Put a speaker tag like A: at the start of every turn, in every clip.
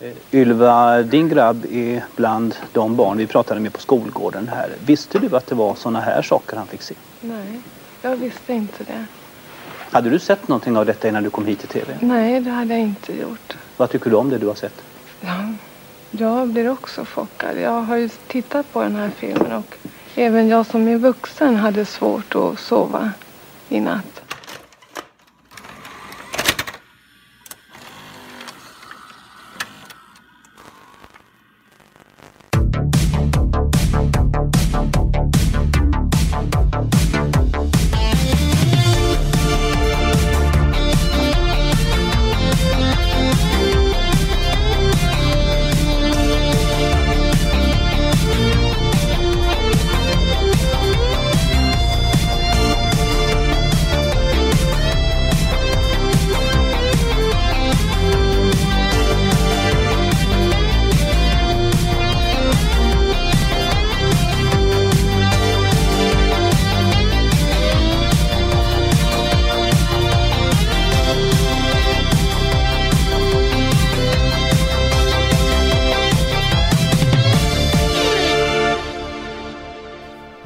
A: Eh, Ylva, din grabb är bland de barn vi pratade med på skolgården här. Visste du att det var sådana här saker han fick se?
B: Nej, jag visste inte det.
A: Hade du sett någonting av detta innan du kom hit till TV?
B: Nej, det hade jag inte gjort.
A: Vad tycker du om det du har sett?
B: Ja, jag blir också chockad. Jag har ju tittat på den här filmen och även jag som är vuxen hade svårt att sova i natt.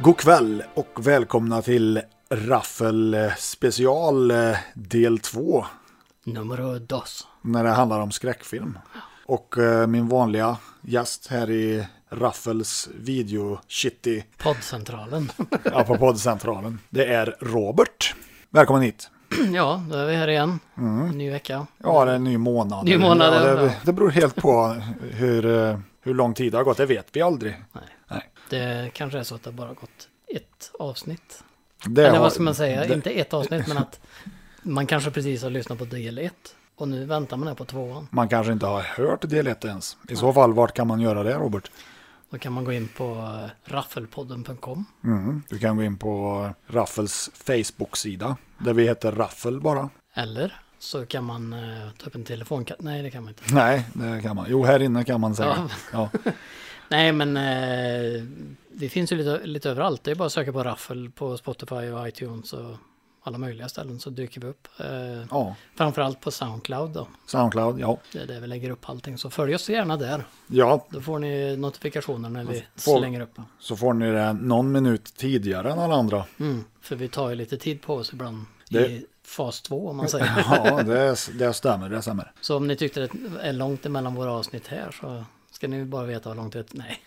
C: God kväll och välkomna till Raffel eh, special eh, del 2
D: Nummer dos.
C: när det handlar om skräckfilm. Och eh, min vanliga gäst här i Raffels video shitty
D: Poddcentralen.
C: ja, på poddcentralen. Det är Robert. Välkommen hit.
D: ja, då är vi här igen.
C: Mm.
D: Ny vecka.
C: Ja, det är en ny månad.
D: Ny månad,
C: ja, det,
D: ja.
C: det beror helt på hur, eh, hur lång tid det har gått. Det vet vi aldrig.
D: Nej.
C: Nej.
D: Det kanske är så att det bara gått ett avsnitt.
C: Det
D: Eller
C: har-
D: vad ska man säga?
C: det-
D: Inte ett avsnitt, men att man kanske precis har lyssnat på del ett. Och nu väntar man här på tvåan.
C: Man kanske inte har hört del 1 ens. I så fall, vart kan man göra det, Robert?
D: Då kan man gå in på eh, raffelpodden.com.
C: Mm. Du kan gå in på Raffels Facebook-sida. Där vi heter Raffel bara.
D: Eller så kan man eh, ta upp en telefonkatt. Nej, det kan man inte.
C: Nej, det kan man. Jo, här inne kan man säga. Ja.
D: Nej, men eh, vi finns ju lite, lite överallt. Det är bara att söka på raffel på Spotify och iTunes och alla möjliga ställen så dyker vi upp. Eh,
C: ja.
D: Framförallt på Soundcloud då.
C: Soundcloud, ja.
D: Det är där vi lägger upp allting. Så följ oss gärna där.
C: Ja,
D: Då får ni notifikationer när vi
C: Får-
D: slänger upp.
C: så får ni det någon minut tidigare än alla andra.
D: Mm, för vi tar ju lite tid på oss ibland
C: Det-
D: i fas två om man säger.
C: Ja, det, det stämmer, det stämmer.
D: Så om ni tyckte det är långt emellan våra avsnitt här så ska ni bara veta hur långt det är. Nej,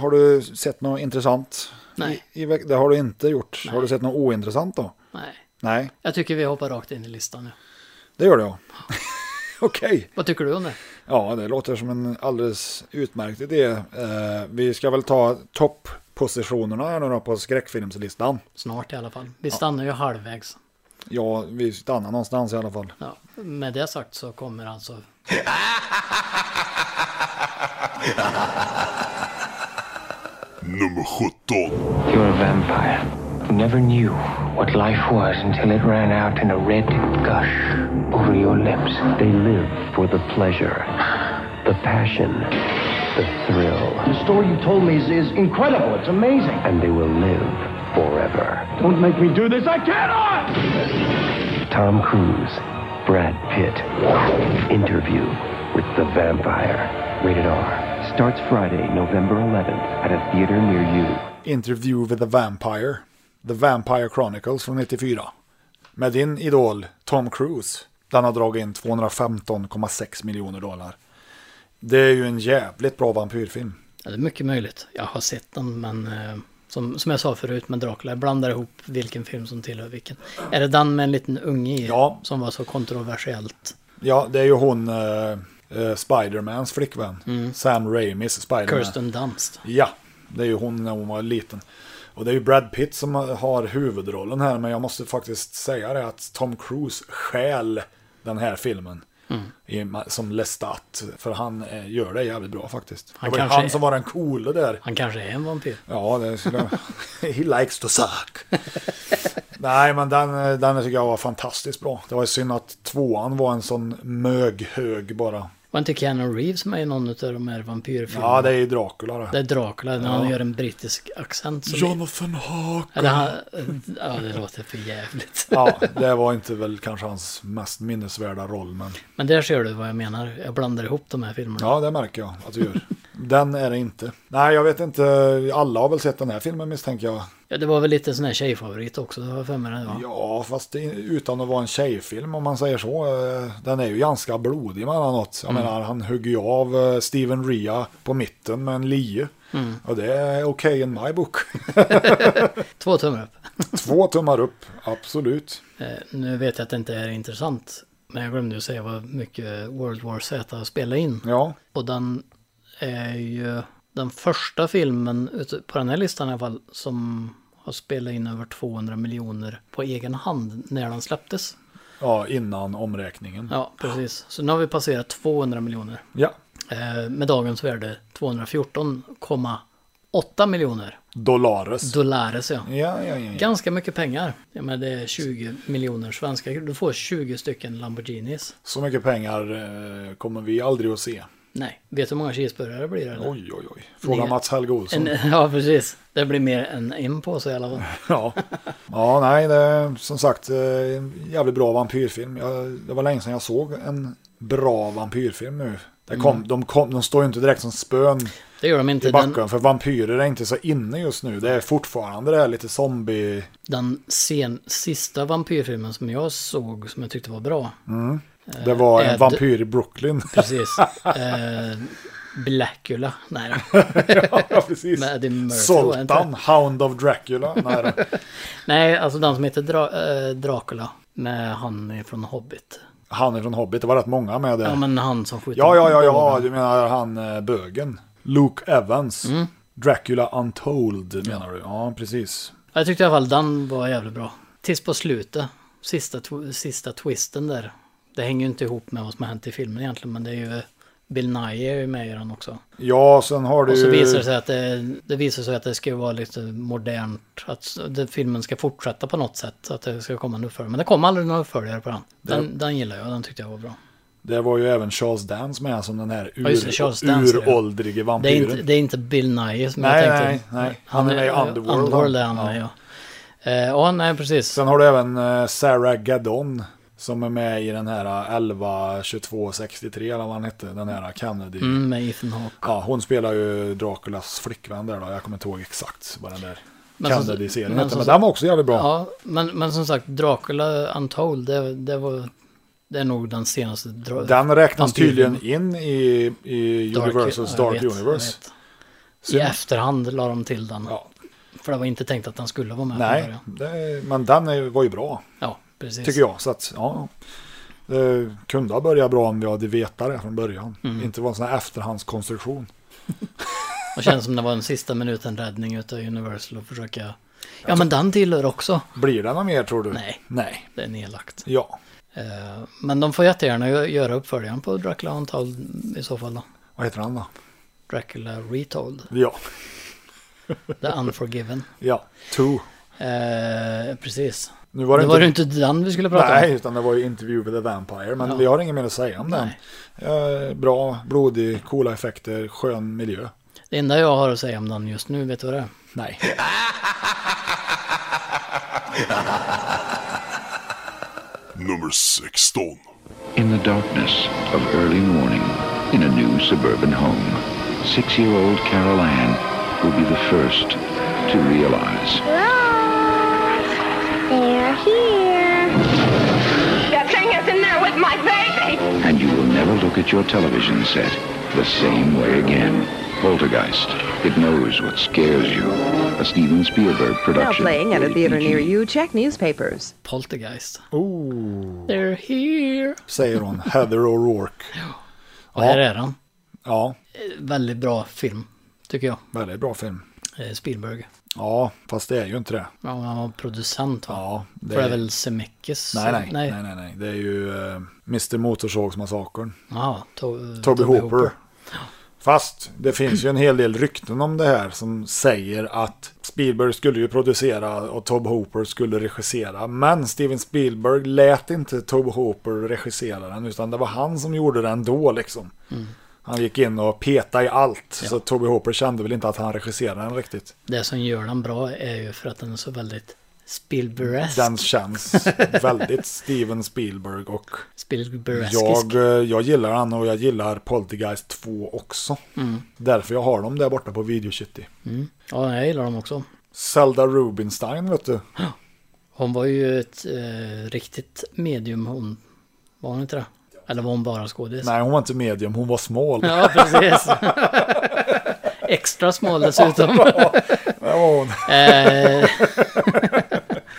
C: Har du sett något intressant?
D: Nej.
C: I, i, veck- det har du inte gjort. Har du sett något ointressant då?
D: nej.
C: Nej,
D: Jag tycker vi hoppar rakt in i listan nu.
C: det gör jag. Okej.
D: Vad tycker du om det?
C: Ja, det låter som en alldeles utmärkt idé. Eh, vi ska väl ta topppositionerna här nu då på skräckfilmslistan.
D: Snart i alla fall. Vi stannar ju halvvägs.
C: Ja, vi stannar någonstans i alla fall.
D: Ja. Med det sagt så kommer alltså...
E: Nummer 17.
F: You're a vampire who never knew what life was until it ran out in a red gush over your lips. They live for the pleasure, the passion, the thrill. The story you told me is, is incredible. It's amazing. And they will live forever. Don't make me do this. I cannot! Tom Cruise, Brad Pitt. Interview with the vampire. Rated R. Starts Friday, November 11th at a theater near you.
C: Interview with the Vampire. The Vampire Chronicles från 94. Med din idol Tom Cruise. Den har dragit in 215,6 miljoner dollar. Det är ju en jävligt bra vampyrfilm.
D: Ja, det är mycket möjligt. Jag har sett den, men eh, som, som jag sa förut med Dracula, jag blandar ihop vilken film som tillhör vilken. Är det den med en liten unge i?
C: Ja.
D: Som var så kontroversiellt.
C: Ja, det är ju hon, eh, eh, Spidermans flickvän. Sam Raimis Spiderman.
D: Kirsten Dunst.
C: Ja, det är ju hon när hon var liten. Och det är ju Brad Pitt som har huvudrollen här, men jag måste faktiskt säga det att Tom Cruise stjäl den här filmen. I, som lestat, för han eh, gör det jävligt bra faktiskt. det
D: Han
C: var ju
D: kanske
C: han
D: är-
C: som var den coole där.
D: Han kanske är en vampyr.
C: Ja, det skulle jag... He likes to suck. Nej, men den, eh, den tycker jag var fantastiskt bra. Det var ju synd att tvåan var en sån möghög bara.
D: Vad Var inte Keanu Reeves med i någon av de här vampyrfilmerna?
C: Ja, det är ju Dracula Mm. det.
D: Det är Dracula, när han
C: Ja.
D: gör en brittisk accent. som-
C: Jonathan Hawk.
D: Eller han... Ja, det låter för jävligt.
C: Ja, det var inte väl kanske hans mest minnesvärda roll, men
D: Men där ser du vad jag menar. Jag blandar ihop de här filmerna.
C: ja, det märker jag att du gör. Den är det inte. Nej, jag vet inte. Alla har väl sett den här filmen misstänker jag.
D: Ja, det var väl lite sån här tjejfavorit också, det var för mig det var.
C: Ja, fast det, utan att vara en tjejfilm om man säger så. eh, Den är ju ganska blodig med annat. Jag menar, han hugger ju av eh, Steven Rea på mitten med en lie. Och det är okej in my book.
D: Två tummar upp.
C: Två tummar upp, absolut.
D: Eh, nu vet jag att det inte är intressant. Men jag glömde ju säga vad mycket World War Z spelade in.
C: Ja,
D: Och den är ju den första filmen ut- på den här listan i alla fall som har spelat in över 200 miljoner på egen hand när den släpptes.
C: ja innan omräkningen.
D: Ja, precis. Så nu har vi passerat 200 miljoner.
C: ja.
D: Eh, med dagens värde 214,8 miljoner
C: Dollares.
D: dollares. Ja.
C: ja, ja, ja, ja.
D: Ganska mycket pengar. Ja, men det är 20 miljoner svenska kronor. Du får 20 stycken Lamborghinis.
C: Så mycket pengar eh, kommer vi aldrig att se.
D: Nej, vet du hur många cheeseburgare det blir? Eller?
C: Oj, oj, oj. Fråga
D: Ner.
C: Mats Helge Olsson.
D: En, ja, precis. Det blir mer än en påse i alla fall.
C: Ja. ja, nej, det är som sagt eh, en jävligt bra vampyrfilm. Jag, det var länge sedan jag såg en bra vampyrfilm nu. Det kom, de, kom, de står ju inte direkt som spön
D: Det gör de
C: i
D: Mm. inte.
C: backen,
D: Den,
C: för vampyrer är inte så inne just nu. Det är fortfarande det här lite zombie...
D: den sen, sista vampyrfilmen som jag såg som jag tyckte var bra.
C: Mm. Det var en
D: Eh, Ed.
C: vampyr i Brooklyn.
D: Precis. eh, Blackula. Nej då.
C: ja, precis.
D: Men Eddie Murphy var inte-
C: Soltan, Hound of Dracula. Nej, då.
D: Nej, alltså den som heter Dra- eh, Dracula. Med han från Hobbit.
C: han är från Hobbit, det var rätt många med det.
D: Ja, men han som skjuter.
C: Ja, ja, ja, ja,
D: bågen.
C: du menar han eh, bögen. Luke Evans.
D: Mm.
C: Dracula Untold menar du? Ja, precis.
D: Jag tyckte i alla fall den var jävligt bra. Tills på slutet. Sista, tw- sista twisten där. Det hänger ju inte ihop med vad som har hänt i filmen egentligen. Men det är ju Bill Nye är ju med i den också.
C: Ja, sen har du...
D: Och så visar det sig att det, det visar sig att det ska vara lite modernt. Att s- det, filmen ska fortsätta på något sätt. Att det ska komma en uppföljare. Men det kom aldrig någon uppföljare på den. Den, den gillar jag. Den tyckte jag var bra.
C: Det var ju även Charles Dance med som den här ur,
D: Ja, just det, Charles Dance, ja.
C: uråldrige
D: Det är,
C: vampyren.
D: inte, det är inte Bill Nye som
C: Nej,
D: jag tänkte.
C: nej, nej. Han är med i Underworld,
D: Underworld
C: han.
D: är han med,
C: Ja.
D: ja. Eh, Ja, nej, precis.
C: Sen har du även eh, Sarah Gadon. Som är med i den här eh, 11 22 63 eller vad han hette. Den här Kennedy.
D: Mm, med Ethan Hawke.
C: Ja, hon spelar ju Draculas flickvän där då. Jag kommer inte ihåg exakt vad den där
D: Men som-
C: Kennedy-serien
D: men
C: hette.
D: som-
C: Men den var också jävligt bra.
D: Ja, men, men som sagt, Dracula Untold, det, det var... Det är nog den senaste... Dra-
C: Den räknas
D: Vampyren.
C: tydligen in i, i
D: Dark-
C: Universals
D: ja, jag
C: Dark
D: vet,
C: Universe.
D: jag vet.
C: Så-
D: I efterhand la de till den.
C: Ja.
D: För det var inte tänkt att den skulle vara med från
C: Nej,
D: början.
C: det, men den är, var ju bra,
D: Ja, precis.
C: tycker jag. Så att, ja. Det kunde ha börjat bra om vi hade vetat det från början.
D: Mm.
C: Inte var en sån här efterhandskonstruktion.
D: Och känns som det var en sista minuten räddning utav Universal att försöka... Ja, men den tillhör också.
C: Blir det något mer tror du?
D: Nej.
C: Nej.
D: Det är nedlagt.
C: Ja.
D: Eh, Men de får jättegärna gö- göra uppföljaren på Dracula Untold i så fall då.
C: Vad heter han då?
D: Dracula Retold.
C: Ja.
D: The Unforgiven.
C: Ja. Two.
D: Eh, precis.
C: Nu var det,
D: det var ju inte den vi skulle prata
C: Nej,
D: om.
C: utan det var ju Interview with a Vampire. Men
D: Ja.
C: vi har inget mer att säga om den.
D: Nej.
C: Eh, bra, blodig, coola effekter, skön miljö.
D: Det enda jag har att säga om den just nu, vet du vad det är?
C: Nej.
E: Nummer 16.
G: In the darkness of early morning, in a new suburban home, six-year-old Carol Ann will be the first to realize
H: Hello. They're here.
I: That thing is in there with my baby.
G: and you will never look at your television set the same way again. Poltergeist. It knows what scares you. A Steven Spielberg production.
J: Now playing at a
G: rated
J: theater
G: PG.
J: near you. Check newspapers.
D: Poltergeist. Oh. They're here.
C: Säger hon, Heather O'Rourke.
D: Och här är den.
C: Ja,
D: Eh, Väldigt bra film, tycker jag.
C: väldigt bra film.
D: Eh, Spielberg.
C: Ja, fast det är ju inte det.
D: Ja, han var producent va?
C: Ja, det
D: För det är
C: är-
D: väl Zemeckis?
C: Nej, nej,
D: nej.
C: nej, nej, nej, Det är ju eh, Mr Motorsågsmassakern.
D: Jaha, to-
C: Toby Hooper. Fast det finns ju en hel del rykten om det här som säger att Spielberg skulle ju producera och Tob Hooper skulle regissera. Men Steven Spielberg lät inte Tob Hooper regissera den utan det var han som gjorde den då liksom. Han gick in och petade i allt. Så Toby Hooper kände väl inte att han regisserade den riktigt.
D: Det som gör den bra är ju för att den är så väldigt Spielbergsk.
C: Den känns väldigt Steven Spielberg och
D: Spielbergisk.
C: jag, eh, jag gillar han och jag gillar Poltergeist 2 också.
D: Mm.
C: Därför jag har dem där borta på Video City.
D: Ja, jag gillar dem också.
C: Zelda Rubinstein vet du.
D: Hon var ju ett eh, riktigt medium hon. Var hon inte det? Eller var hon bara skådis?
C: Nej hon var inte medium, hon var smal.
D: Ja, precis. Extra smal dessutom.
C: Det var hon.
D: Eh,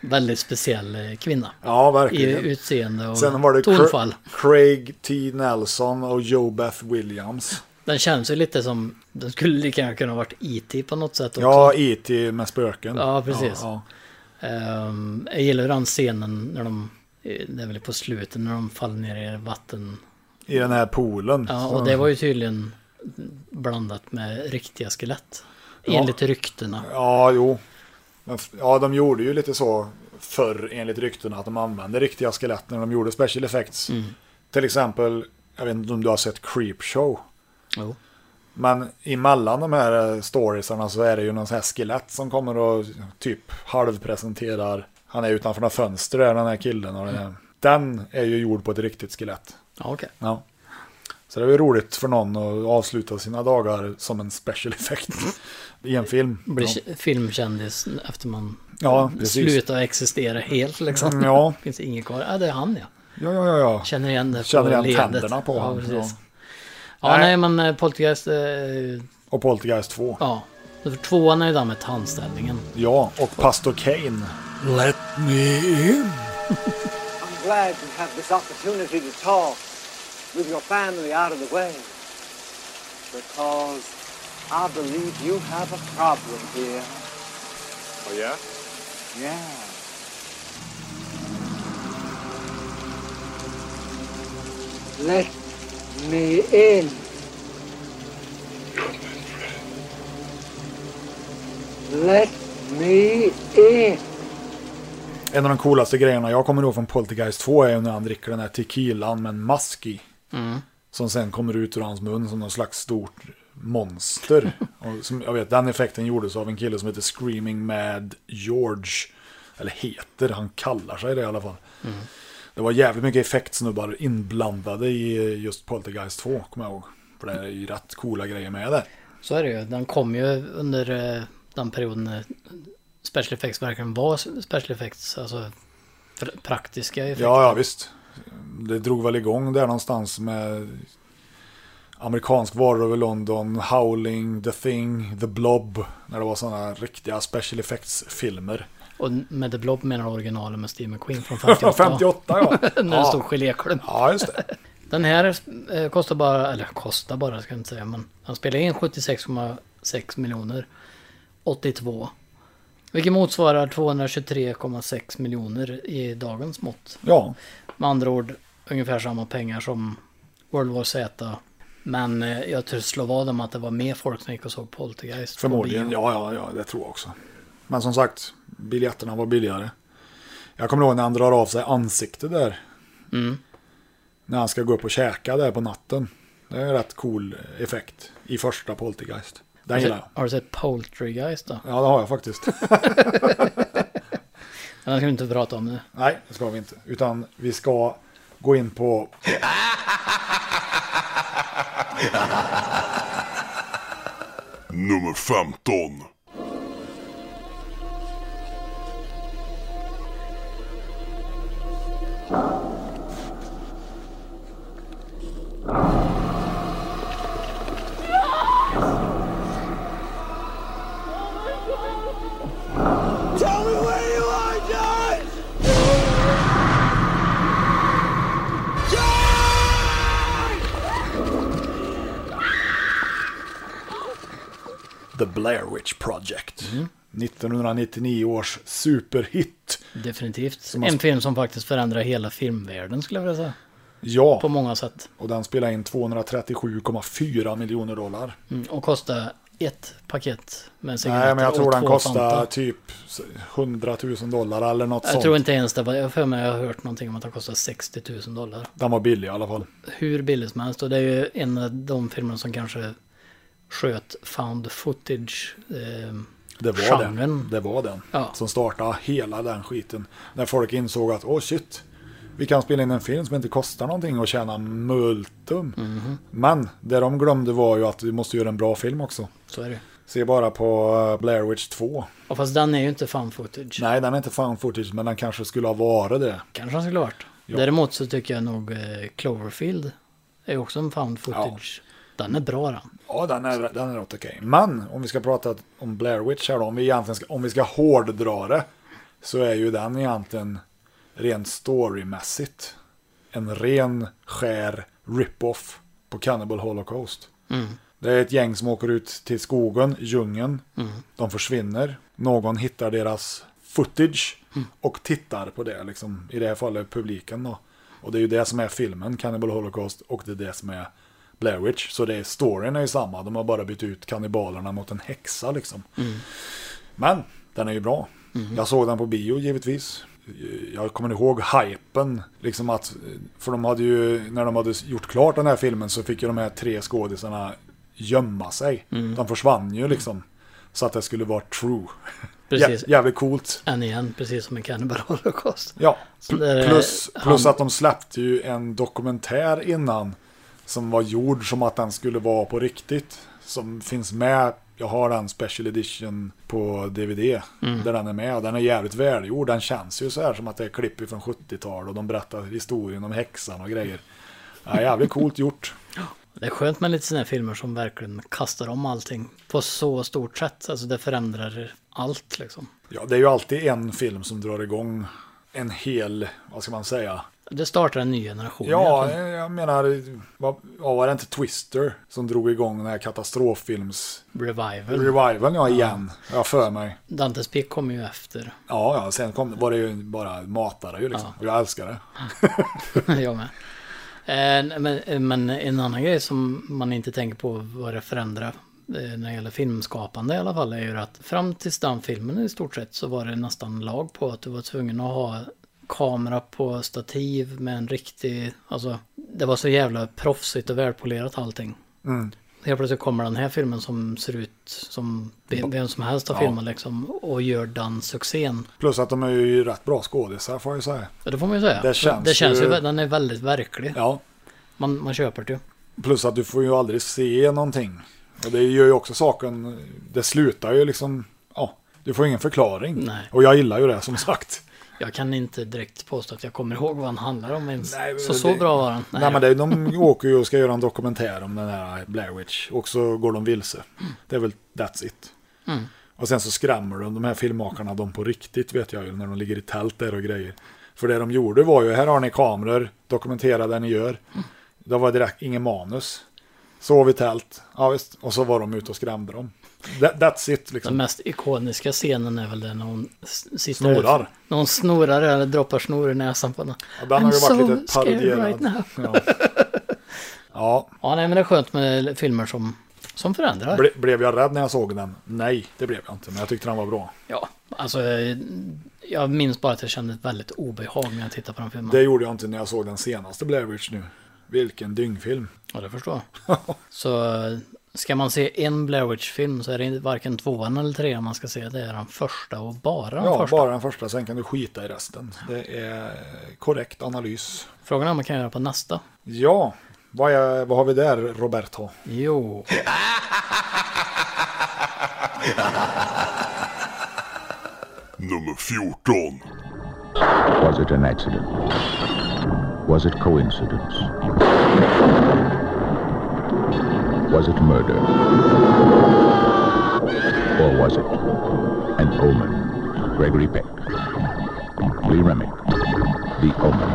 D: Väldigt speciell eh, kvinna.
C: Ja
D: I
C: verkligen.
D: utseende och
C: Sen var det Cra-
D: tonfall.
C: Craig T. Nelson och Joe Beth Williams.
D: Den känns ju lite som, den skulle lika gärna kunna ha varit IT på något sätt också.
C: Ja, E.T. med spöken.
D: Ja, precis.
C: Ja,
D: Ehm, jag gillar ju den scenen när de, eh, det är väl på slutet, när de faller ner i vatten.
C: ja. I den här poolen.
D: Ja,
C: Så-
D: och det var ju tydligen blandat med riktiga skelett. Enligt ryktena.
C: Ja, jo. Men, f- ja, de gjorde ju lite så förr enligt ryktena att de använde riktiga skelett när de gjorde special effects. Till exempel, jag vet inte om du har sett Creepshow.
D: Jo.
C: Men emellan de här eh, storiesarna så är det ju någon sån här skelett som kommer och typ halvpresenterar. Han är utanför några fönster där, den här killen. Och den, här. den är ju gjord på ett riktigt skelett.
D: Ja, okej.
C: Ja. Så det var ju roligt för någon att avsluta sina dagar som en special effect i en film.
D: Blir
C: Ja.
D: k- filmkändis efter man
C: Ja, precis. Mm,
D: slutar existera helt liksom.
C: Ja.
D: Finns inget kvar. Ja, det är han ja.
C: Ja, ja, ja. ja.
D: Känner igen det på
C: Känner igen
D: ledet.
C: tänderna på
D: ja,
C: honom,
D: Precis. Ja,
C: ja.
D: nej.
C: Nej.
D: men eh, Poltergeist, eh,
C: Och Poltergeist 2.
D: ja. För tvåan är ju den med tandställningen.
C: Ja, och Pastor Kane.
E: Let me in.
J: I'm glad you have this opportunity to talk with your family out of the way. Because I believe you have a problem here. Oh, yeah? Yeah. Let me in. Let me in.
C: En av de coolaste grejerna jag kommer ihåg från Poltergeist 2 är ju när han dricker den här tequilan med en mask i. Som sen kommer ut ur hans mun som någon slags stort monster. och som, jag vet, den effekten gjordes av en kille som heter Screaming Mad George. Eller heter, han kallar sig det i alla fall. Det var jävligt mycket effektsnubbar inblandade i just Poltergeist 2, kommer jag ihåg. För det är ju rätt coola grejer med det.
D: Så är det ju. Den kom ju under eh, den perioden när special effects verkligen var special effects. Alltså pr- praktiska effekter.
C: Ja, ja visst. Det drog väl igång där någonstans med amerikansk varor över London, Howling, The Thing, The Blob. När det var sådana riktiga special effects-filmer.
D: Och med The Blob menar du originalen med Steve McQueen från 58.
C: 58 ja.
D: När det
C: ja.
D: stod geléklump.
C: ja, just det.
D: Den här eh, kostar bara, eller kostar bara ska jag inte säga, men han spelar in 76,6 miljoner 82. Vilket motsvarar 223,6 miljoner i dagens mått.
C: Ja,
D: Med andra ord ungefär samma pengar som World War Z. Men eh, jag tror slå vad om att det var mer folk som gick och såg Poltergeist. på
C: förmodligen.
D: bio.
C: Ja, ja, ja, det tror jag också. Men som sagt, biljetterna var billigare. Jag kommer ihåg när han drar av sig ansiktet där. När han ska gå upp och käka där på natten. Det är en rätt cool effekt i första Poltergeist. Den gillar jag.
D: Har du sett Poltergeist då?
C: Ja, det har jag faktiskt.
D: Den ska vi inte prata om nu.
C: Nej, det ska vi inte. Utan vi ska gå in på...
E: Nummer 15.
C: The Blair Witch Project. 1999 Mm. års superhit.
D: Definitivt.
C: man-
D: En film som faktiskt förändrar hela filmvärlden skulle jag vilja säga.
C: Ja.
D: På många sätt.
C: Och den spelar in 237,4 miljoner dollar.
D: Mm, och kostar ett paket med cigaretter
C: Nej, men jag
D: och
C: tror den
D: två
C: kostar
D: Fanta.
C: typ 100 000 dollar eller något
D: Jag
C: sånt.
D: tror inte ens det. var- Jag har för mig jag har hört någonting om att den kostar 60 000 dollar.
C: Den var billig i alla fall.
D: Hur billigt som helst. Och det är ju en av de filmerna som kanske sköt found footage. Eh,
C: Det var
D: Genren.
C: den. Det var den.
D: Ja.
C: Som startade hela den skiten. När folk insåg att, åh oh shit, vi kan spela in en film som inte kostar någonting och tjäna multum.
D: Mhm.
C: Men det de glömde var ju att vi måste göra en bra film också.
D: så är det.
C: Se bara på eh, Blair Witch 2.
D: Och fast den är ju inte found footage.
C: Nej, den är inte fan footage, men den kanske skulle ha varit det.
D: Kanske han skulle ha varit.
C: Ja.
D: Däremot så tycker jag nog eh, Cloverfield är också en found footage. Den är bra den.
C: Ja, den är, den är rätt okej. Men om vi ska prata om Blair Witch här då, om vi, egentligen ska, om vi ska hårddra det, så är ju den egentligen rent storymässigt en ren skär rip-off på Cannibal Holocaust. Det är ett gäng som åker ut till skogen, djungeln, de försvinner, någon hittar deras footage och tittar på det, liksom, i det här fallet publiken då. Och det är ju det som är filmen, Cannibal Holocaust, och det är det som är Blair Witch. Så det är, storyn är ju samma, de har bara bytt ut kannibalerna mot en häxa liksom. Men den är ju bra. Jag såg den på bio givetvis. Jag kommer ihåg hypen. Liksom att, för de hade ju, när de hade gjort klart den här filmen så fick ju de här tre skådisarna gömma sig. De försvann ju liksom. Så att det skulle vara true.
D: Precis.
C: Jä- jävligt coolt.
D: Än igen, precis som en Cannibal Holocaust.
C: Ja,
D: Så där eh, är
C: plus, plus
D: han-
C: att de släppte ju en dokumentär innan som var gjord som att den skulle vara på riktigt. Som finns med, jag har den special edition på DVD
D: Mm.
C: där den är med. Den är jävligt välgjord, den känns ju så här som att det är klipp från 70-tal och de berättar historien om häxan och grejer. Ja, jävligt coolt gjort.
D: Det är skönt med lite sådana här filmer som verkligen kastar om allting på så stort sätt. Alltså det förändrar allt liksom.
C: Ja, det är ju alltid en film som drar igång en hel, vad ska man säga,
D: Det startar en ny generation
C: Ja,
D: egentligen.
C: jag menar, var, ja, var det inte Twister som drog igång den här katastroffilms...
D: Revival.
C: Revivalen, ja, igen. Ja, för mig.
D: Dantes Peak kommer ju efter.
C: Ja, ja, sen kom, var det ju bara matare ju liksom. Och jag älskar det.
D: jag med. Eh, Men, men en annan grej som man inte tänker på vad det förändrar eh, när det gäller filmskapande i alla fall är ju att fram tills den filmen i stort sett så var det nästan lag på att du var tvungen att ha kamera på stativ med en riktig, alltså det var så jävla proffsigt och välpolerat allting.
C: Mm.
D: Helt plötsligt kommer den här filmen som ser ut som vem vem som helst har
C: Ja.
D: filmat liksom och gör den succén.
C: Plus att de är ju rätt bra skådisar får jag ju säga.
D: Ja, Det får man ju säga.
C: Det känns
D: det känns ju,
C: ju-
D: den är väldigt verklig.
C: Ja,
D: Man, man köper det ju.
C: plus att du får ju aldrig se någonting. Och det gör ju också saken, det slutar ju liksom, ja, du får ingen förklaring.
D: Nej.
C: Och jag gillar ju det som sagt.
D: Jag kan inte direkt påstå att jag kommer ihåg vad han handlar om ens.
C: Nej, men
D: så så
C: det-
D: bra var han.
C: Nej, men det, är- de åker ju och ska göra en dokumentär om den här Blair Witch. Och så går de vilse. Det är väl that's it.
D: Mm.
C: Och sen så skrämmer de de här filmmakarna dem på riktigt vet jag ju. När de ligger i tält där och grejer. För det de gjorde var ju, här har ni kameror, dokumentera det ni gör. Det var direkt ingen manus. Sov i tält, ja visst. Och så var de ute och skrämde dem. That, that's it
D: Den
C: liksom.
D: mest ikoniska scenen är väl den när hon s- sitter...
C: Snorar.
D: När hon snorar eller droppar snor i näsan på henne.
C: Ja, den har ju varit lite
D: scared
C: parodierad.
D: right now.
C: ja. ja,
D: Ja, nej men det är skönt med filmer som, som förändrar.
C: ble, blev jag rädd när jag såg den? Nej, det blev jag inte. Men jag tyckte den var bra.
D: Ja, alltså eh, jag minns bara att jag kände ett väldigt obehag när jag tittade på den filmen.
C: Det gjorde jag inte när jag såg den senaste Blair Witch nu. Vilken dyngfilm.
D: Ja, det förstår jag. Så eh, ska man se en Blair Witch-film så är det varken tvåan eller trean man ska se. Det är den första och bara den
C: Ja,
D: första.
C: bara den första, sen kan du skita i resten. Det är korrekt analys.
D: Frågan är om man kan göra på nästa.
C: Ja, vad, är, vad har vi där Roberto?
D: Jo.
E: Nummer 14.
G: Was it an accident? Was it coincidence? Was it murder? Or was it an omen? Gregory Peck. Lee Remick. The Omen.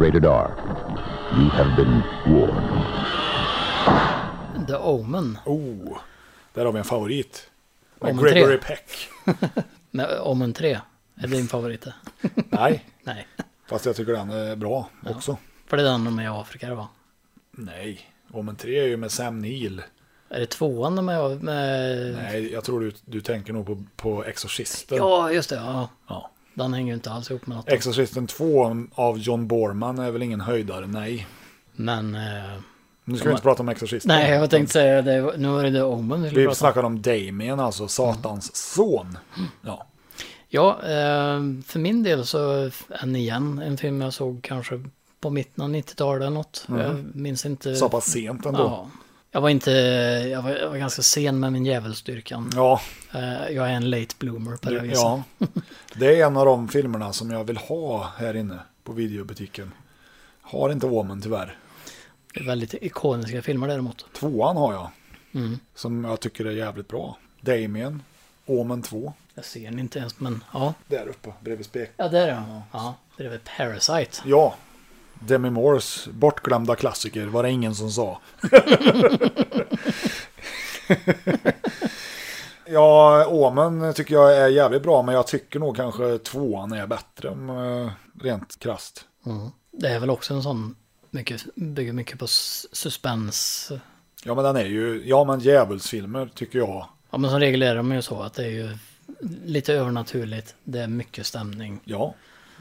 G: Rated R. You have been warned.
D: The Omen.
C: Oh, där har vi en favorit. Med
D: Omen tre.
C: Gregory Peck.
D: Nej, Omen 3. Är din favorit det?
C: Nej,
D: Nej.
C: fast jag tycker den är bra också.
D: För det är den de är i Afrika det var.
C: Nej, Omen 3 är ju med Sam Neill.
D: Är det tvåan de är med?
C: Nej, jag tror du, du tänker nog på, på Exorcisten.
D: Ja, just det. Ja.
C: Ja.
D: Den hänger ju inte alls ihop med något.
C: Exorcisten 2 av John Borman är väl ingen höjdare, nej.
D: Men... Eh,
C: Nu ska vi inte prata om Exorcisten.
D: nej, jag tänkte säga det. Nu var det The Omen vi skulle
C: Vi
D: prata Mm. om.
C: snackar om Damien, alltså Satans son. Ja.
D: Ja, eh, för min del så, än igen, en film jag såg kanske på mitten av 90-talet eller något. Jag minns inte.
C: Mm. Så pass sent ändå. Ja.
D: Ja. Jag var inte, jag var, jag var ganska sen med min djävulsdyrkan.
C: Ja,
D: Eh, jag är en late bloomer på det
C: det,
D: viset.
C: ja. det är en av de filmerna som jag vill ha här inne på videobutiken. Har inte Omen tyvärr.
D: Det är väldigt ikoniska filmer däremot.
C: Tvåan har jag.
D: Mm.
C: Som jag tycker är jävligt bra. Damien, Omen 2.
D: Jag ser den inte ens, men ja.
C: Där uppe, bredvid spek.
D: Ja, där är den. Ja, det är väl Parasite.
C: Ja, Demi Moores bortglömda klassiker var det ingen som sa. ja, Åmen tycker jag är jävligt bra, men jag tycker nog kanske tvåan är bättre, om, eh, rent krasst.
D: Det är väl också en sån, mycket, bygger mycket på s- suspens.
C: Ja, men den är ju, ja men djävulsfilmer tycker jag.
D: Ja, men som regel är de ju så att det är ju lite övernaturligt. Det är mycket stämning.
C: Ja.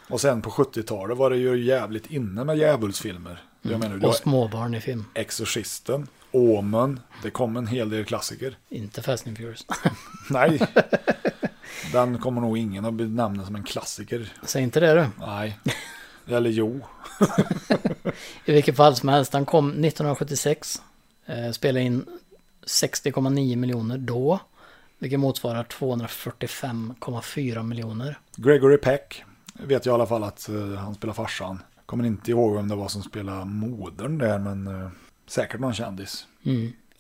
C: Och sen på 70-talet var det ju jävligt inne med djävulsfilmer. Jag menar, du
D: Och
C: har
D: småbarn i film.
C: Exorcisten, Åmen, det kom en hel del klassiker.
D: Inte Fast and Furious.
C: Nej. Den kommer nog ingen att benämna som en klassiker.
D: Säg inte det du.
C: Nej. Eller jo.
D: I vilket fall som helst, han kom 1976. Eh, spelade in 60,9 miljoner då. Vilket motsvarar 245,4 miljoner.
C: Gregory Peck vet jag i alla fall att eh, han spelar farsan. Kommer inte ihåg vem det var som spelade modern där, men eh, säkert någon kändis.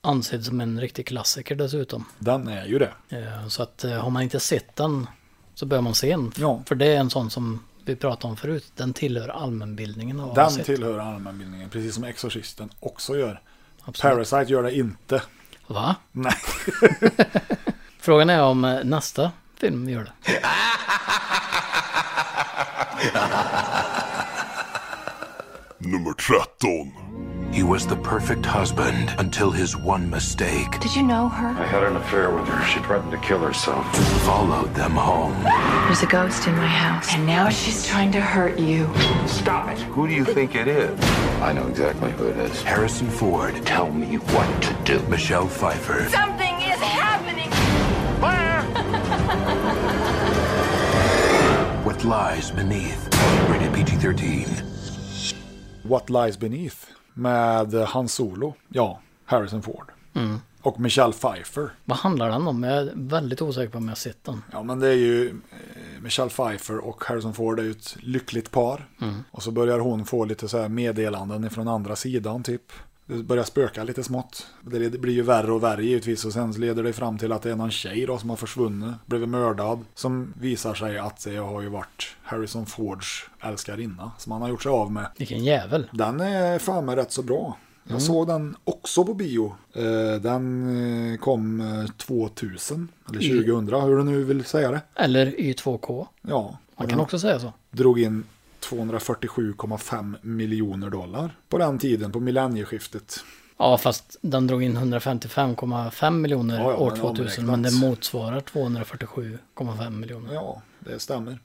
D: Ansedd som en riktig klassiker dessutom.
C: Den är ju det.
D: Eh, Så att eh, har man inte sett den så bör man se den.
C: Ja.
D: För det är en sån som vi pratade om förut. Den tillhör allmänbildningen. av
C: Den
D: sett.
C: tillhör allmänbildningen, precis som Exorcisten också gör.
D: Absolut.
C: Parasite gör det inte.
D: Va?
C: Nej.
D: Frågan är om eh, nästa film gör det.
E: Nummer 13.
K: He was the perfect husband until his one mistake
L: Did you know her?
M: I had an affair with her. She threatened to kill herself.
K: followed them home.
L: There's a ghost in my house. And now she's trying to hurt you.
M: Stop it. Who do you think it is? I know exactly who it is.
K: Harrison Ford. Tell me what to do. Michelle Pfeiffer.
H: Something is happening.
K: What lies beneath? Rated PG 13.
C: What Lies Beneath med eh, Han Solo. Ja, Harrison Ford. Och Michelle Pfeiffer.
D: Vad handlar den om? Jag är väldigt osäker på om jag har sett den.
C: Ja, men det är ju eh, Michelle Pfeiffer och Harrison Ford är ju ett lyckligt par.
D: Mm.
C: Och så börjar hon få lite så här meddelanden från andra sidan typ. Det börjar spöka lite smått. Det led- blir ju värre och värre givetvis och sen så leder det fram till att det är någon tjej då som har försvunnit, blivit mördad. Som visar sig att det har ju varit Harrison Fords älskarinna som han har gjort sig av med.
D: Vilken jävel.
C: Den är fan mig rätt så bra. Jag
D: Mm.
C: såg den också på bio. Eh, Den eh, kom eh, 2000, eller
D: I-
C: 2000 hur du nu vill säga det.
D: Eller Y2K.
C: Ja.
D: Man kan också säga så.
C: Drog in 247,5 miljoner dollar på den tiden, på millennieskiftet.
D: Ja, fast den drog in 155,5 miljoner
C: Ja, ja,
D: år
C: men
D: 2000. Men det
C: omräknat.
D: motsvarar 247,5 miljoner.
C: Ja, det stämmer.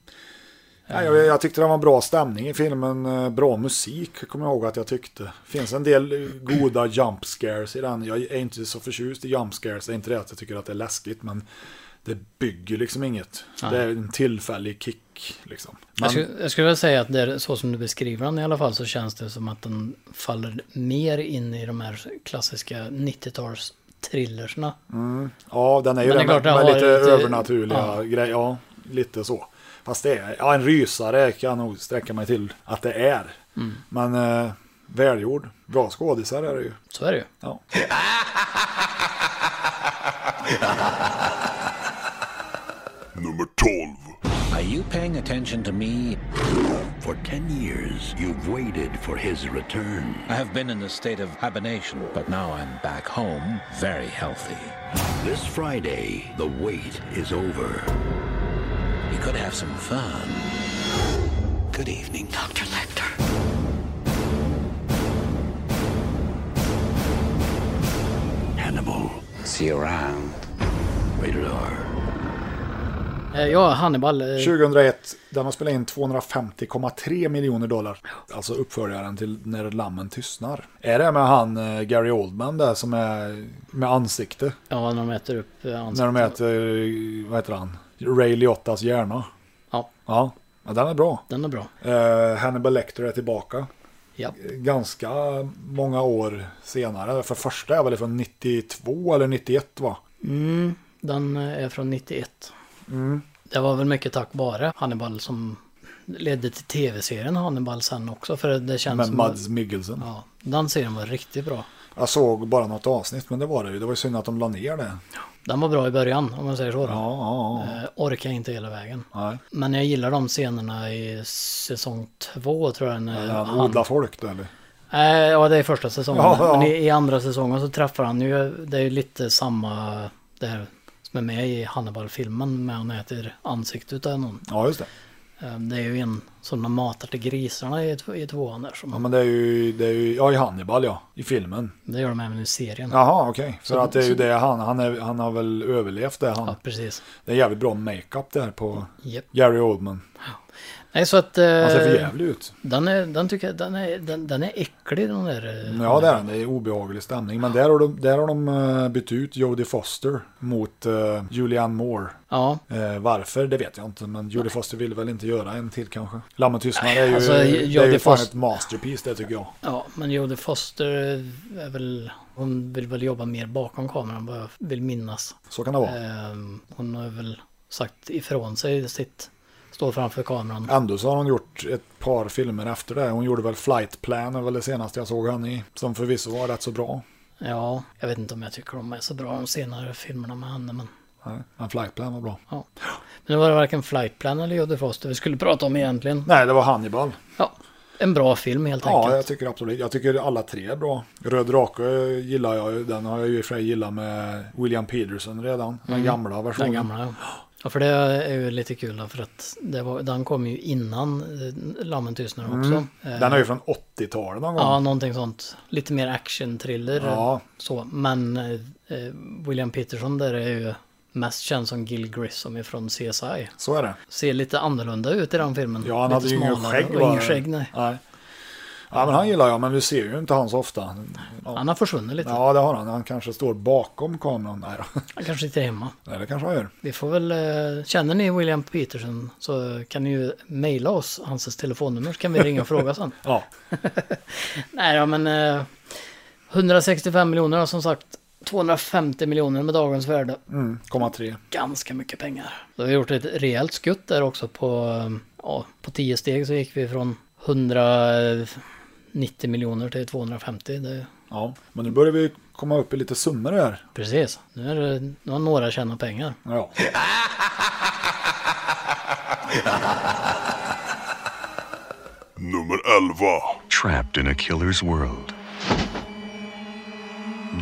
C: Nej, jag, jag tyckte det var bra stämning i filmen, eh, bra musik kommer jag ihåg att jag tyckte. finns en del eh, goda jump scares i den. Jag är inte så förtjust i jump scares, det är inte det att jag tycker att det är läskigt, men det bygger liksom inget.
D: Nej.
C: Det är en tillfällig kick liksom. Men,
D: Jag, skulle, jag skulle vilja säga att det är, så som du beskriver den i alla fall så känns det som att den faller mer in i de här klassiska 90-tals thrillerserna.
C: mm, ja, den är ju
D: Men det
C: det
D: är klart,
C: med,
D: den
C: med
D: har
C: lite
D: lite-
C: övernaturliga
D: ja.
C: grejer. Ja, lite så. Fast det är, ja en rysare kan jag nog sträcka mig till att det är.
D: Mm.
C: Men eh, välgjord, bra skådisar är det ju.
D: Så är det ju.
C: Ja.
E: Nummer 12.
K: Are you paying attention to me? For 10 years, you've waited for his return. I have been in a state of hibernation, but now I'm back home, very healthy. This Friday, the wait is over. You could have some fun. Good evening, Dr. Lecter. you around. Rated R.
D: Eh, Ja, Hannibal. eh,
C: 2001, den har spelat in 250,3 miljoner dollar. Alltså uppföljaren till När lammen tystnar. Är det med han eh, Gary Oldman där som är med ansikte?
D: Ja, när de äter upp eh, ansiktet.
C: När de äter, eh, vad heter han? Ray Liottas hjärna.
D: Ja.
C: Ja, ja den är bra.
D: Den är bra.
C: Eh, Hannibal Lecter är tillbaka.
D: Ja.
C: Ganska många år senare. För första är väl från 92 eller 91 va?
D: Mm, den eh, är från 91.
C: Mm.
D: Det var väl mycket tack vare Hannibal som ledde till tv-serien Hannibal sen också. För det känns
C: Med
D: som...
C: Mads Mikkelsen.
D: Ja, den serien var riktigt bra.
C: Jag såg bara något avsnitt men det var det ju. Det var ju synd att de la ner det.
D: Den var bra i början om man säger så. Då.
C: Ja, ja,
D: Eh, orkar inte hela vägen.
C: ja. Nej.
D: Men jag gillar de scenerna i säsong två tror jag. När
C: Han
D: han-
C: odlar folk då eller?
D: Eh, ja, det är första säsongen.
C: Ja, ja.
D: Men i, i andra säsongen så träffar han ju, det är ju lite samma, det här som är med i Hannibal-filmen, men han äter ansiktet av någon.
C: Ja, just det.
D: Eh, det är ju en som de matar till grisarna i, tv- i tvåan där. Som,
C: Ja, men det är ju, det är ju ja, i Hannibal ja, i filmen.
D: Det gör de även i serien.
C: Jaha, okej. För
D: Så-
C: att det är ju
D: så-
C: det han, han, är, han har väl överlevt det han.
D: Ja, precis.
C: Det är jävligt bra makeup där på
D: Japp.
C: Gary Oldman.
D: Nej, så att... eh,
C: Han ser för jävlig ut.
D: Den är, den tycker jag, den är, den, den är äcklig den där. eh,
C: Ja, det är han. Det är obehaglig stämning. Men där har de, där har de eh, bytt ut Jodie Foster mot eh, Julianne Moore.
D: Ja.
C: Eh, varför, det vet jag inte. Men Jodie Foster vill väl inte göra en till kanske. Lammen tystnad är ju,
D: Alltså,
C: det är ju
D: Jodie
C: fan
D: Fos-
C: ett masterpiece det tycker jag.
D: Ja, men Jodie Foster är väl, hon vill väl jobba mer bakom kameran vad jag vill minnas.
C: Så kan det vara.
D: Ehm, Hon har väl sagt ifrån sig sitt, står framför kameran.
C: Ändå så har hon gjort ett par filmer efter det. Hon gjorde väl Flight Plan, är väl det senaste jag såg henne i. Som förvisso var rätt så bra.
D: Ja, jag vet inte om jag tycker de är så bra de senare filmerna med henne, men
C: Nej, Men Flight Plan var bra.
D: ja. Men det var varken Flight Plan eller Jodie Foster vi skulle prata om egentligen.
C: Nej, det var Hannibal.
D: Ja, en bra film helt
C: Ja, jag
D: enkelt.
C: tycker absolut. Jag tycker alla tre är bra. Röd drake gillar jag ju. Den har jag ju i och för sig gillat med William Peterson redan. Den
D: Mm.
C: gamla versionen.
D: Den gamla, ja. Ja, för det är ju lite kul då, för att det var, den kom ju innan eh, Lammen tystnar också.
C: Mm.
D: Eh,
C: Den är ju från 80-talet någon gång.
D: Ja, någonting sånt. Lite mer action-thriller.
C: Ja.
D: Så. Men eh, eh, William Peterson där är ju mest känd som Gil Grissom ifrån CSI.
C: Så är det.
D: Ser lite annorlunda ut i den filmen.
C: Ja, han
D: lite
C: hade ju ingen
D: smalare
C: skägg.
D: och
C: va?
D: Ingen skägg, nej.
C: nej. Ja, men han gillar jag, men vi ser ju inte han så ofta. Ja.
D: Han har försvunnit lite.
C: Ja, det har han. Han kanske står bakom kameran. Nej, då.
D: Han kanske sitter hemma.
C: nej det kanske han gör.
D: Vi får väl, eh, känner ni William Peterson så kan ni ju mejla oss hans telefonnummer så kan vi ringa och fråga sen.
C: Ja.
D: Nej ja, men eh, 165 miljoner har som sagt 250 miljoner med dagens värde.
C: Mm, komma tre.
D: ganska mycket pengar. Då har vi gjort ett rejält skutt där också på, eh, ja, på 10 steg så gick vi från 190 miljoner till 250. Det,
C: Ja, men nu börjar vi komma upp i lite summor här.
D: precis, nu, är det, nu har några tjänat pengar.
C: Ja.
E: Nummer 11.
N: Trapped in a killer's world.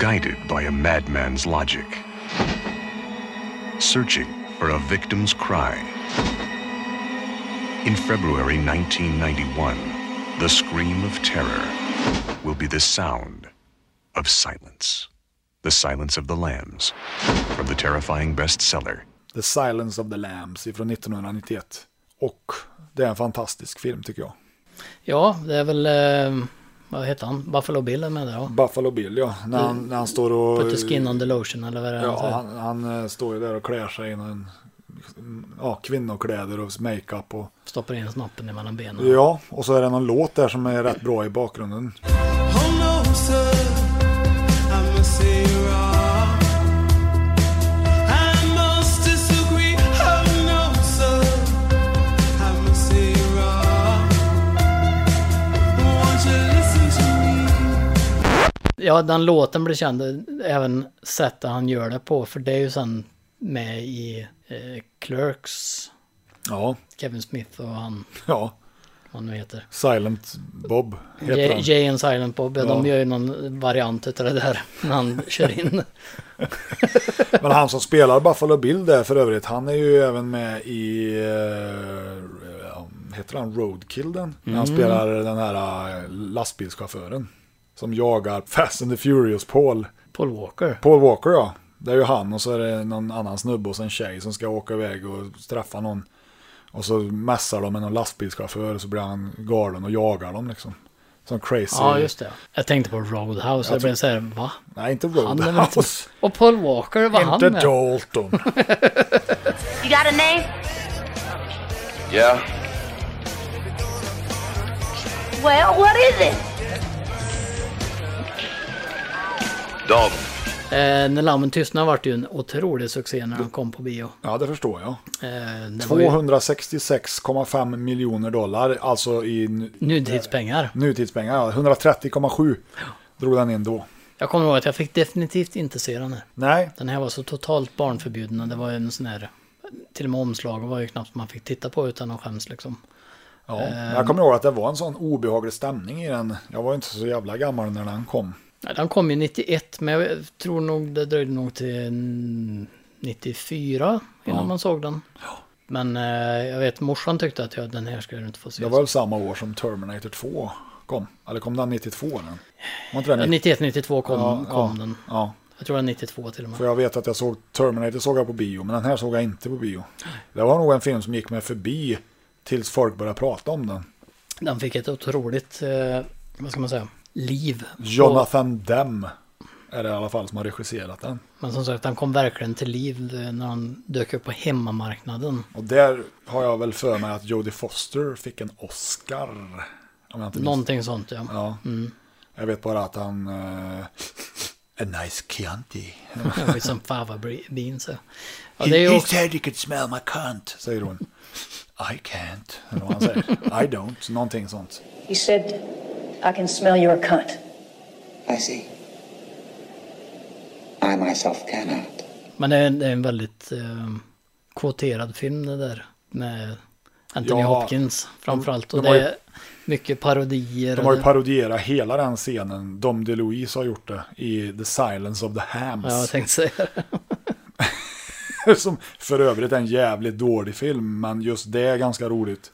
N: Guided by a madman's logic. Searching for a victim's cry. In February 1991, the scream of terror will be the sound of silence. The Silence of the Lambs. From the terrifying bestseller,
C: The Silence of the Lambs ifrån 1991. Och det är en fantastisk film tycker jag.
D: Ja, det är väl, eh, vad heter han, Buffalo Bill är med där ja.
C: Buffalo Bill ja, när han, när han står och...
D: Put the skin on the lotion eller vad det är.
C: Ja, han, han eh, står ju där och klär sig i någon, ja, kvinnokläder och makeup och...
D: Stoppar in snoppen emellan benen.
C: Ja, och så är det någon låt där som är rätt bra i bakgrunden.
O: Oh no, sir, I must say you're wrong. I must disagree. Oh no, sir, I must say you're wrong. Won't you listen to me?
D: Ja, den låten blir känd, även sättet han gör det på, för det är ju sen med i eh, Clerks,
C: Ja,
D: Kevin Smith och han,
C: ja.
D: vad han nu heter.
C: Silent Bob heter
D: Jay,
C: han.
D: Jay and Silent Bob, ja. de
C: Ja.
D: gör ju någon variant utav det där när han kör in.
C: Men han som spelar Buffalo Bill där för övrigt, han är ju även med i... eh, ja, heter han Roadkill den? När Han
D: Mm.
C: spelar den här eh, lastbilschauffören. Som jagar Fast and the Furious Paul.
D: Paul Walker.
C: Paul Walker ja. Det är ju han och så är det någon annan snubbe och sen tjej som ska åka iväg och träffa någon. Och så mässar de med någon lastbilschaufför och så blir han galen och jagar dem liksom. Som crazy.
D: Ja, just det. Jag tänkte på Roadhouse.
C: Jag
D: Jag blev
C: tror-
D: så här, va?
C: Nej, inte
D: Han är väl inte...
C: Roadhouse.
D: Och Paul Walker, var han
C: Inte
D: med?
C: Dalton.
H: You got a name?
M: Yeah.
H: Well, what is it?
M: Dalton.
D: Eh, när Lammen tystnar vart det ju en otrolig succé när han kom på bio.
C: Ja, det förstår jag.
D: Eh, det var ju
C: 266,5 miljoner dollar, alltså i nu-
D: nutidspengar.
C: nutidspengar. ja, 130,7 drog den in då.
D: Jag kommer ihåg att jag fick definitivt inte se den här.
C: Nej.
D: Den här var så totalt barnförbjuden och det var ju en sån här... Till och med omslaget var ju knappt man fick titta på utan att skäms liksom.
C: Ja,
D: Ehm.
C: jag kommer ihåg att det var en sån obehaglig stämning i den. Jag var ju inte så jävla gammal när den kom.
D: Ja, Den kom ju 91 men jag tror nog det dröjde nog till mm, 94 innan
C: Ja.
D: man såg den. Men eh, jag vet morsan tyckte att jag, den här skulle du inte få se.
C: Det var väl samma år som Terminator 2 kom. Eller kom den 92? Den? Var inte
D: Ja,
C: den 90?
D: 91-92 kom,
C: Ja, ja,
D: kom den.
C: ja.
D: Jag tror det var 92 till och med.
C: För jag vet att jag såg Terminator såg jag på bio, men den här såg jag inte på bio. Det var nog en film som gick mig förbi tills folk började prata om den.
D: Den fick ett otroligt, eh, vad ska man säga, liv.
C: Jonathan Demme är det i alla fall som har regisserat den.
D: Men som sagt, han kom verkligen till liv eh, när han dök upp på hemmamarknaden.
C: Och där har jag väl för mig att Jodie Foster fick en Oscar. Om jag inte minns-
D: Någonting sånt ja.
C: Ja.
D: Mm.
C: Jag vet bara att han... eh, a nice Chianti.
D: With some fava bre- beans. ja. Ja,
C: He-
D: det är ju
C: he
D: också...
C: said you could smell my cunt, säger hon. I can't, eller vad han säger. I don't, någonting sånt.
P: He said, I can smell your cunt.
Q: I see. I myself cannot.
D: Men det är, det är en väldigt eh, kvoterad film det där. Med Anthony
C: Ja,
D: Hopkins framförallt. Och
C: de har
D: det
C: ju-
D: är mycket parodier.
C: De har ju
D: och-
C: parodierat hela den scenen. Dom DeLuise har gjort det i The Silence of the Hams.
D: Ja, jag tänkte säga det.
C: Som för övrigt är en jävligt dålig film, men just det är ganska roligt.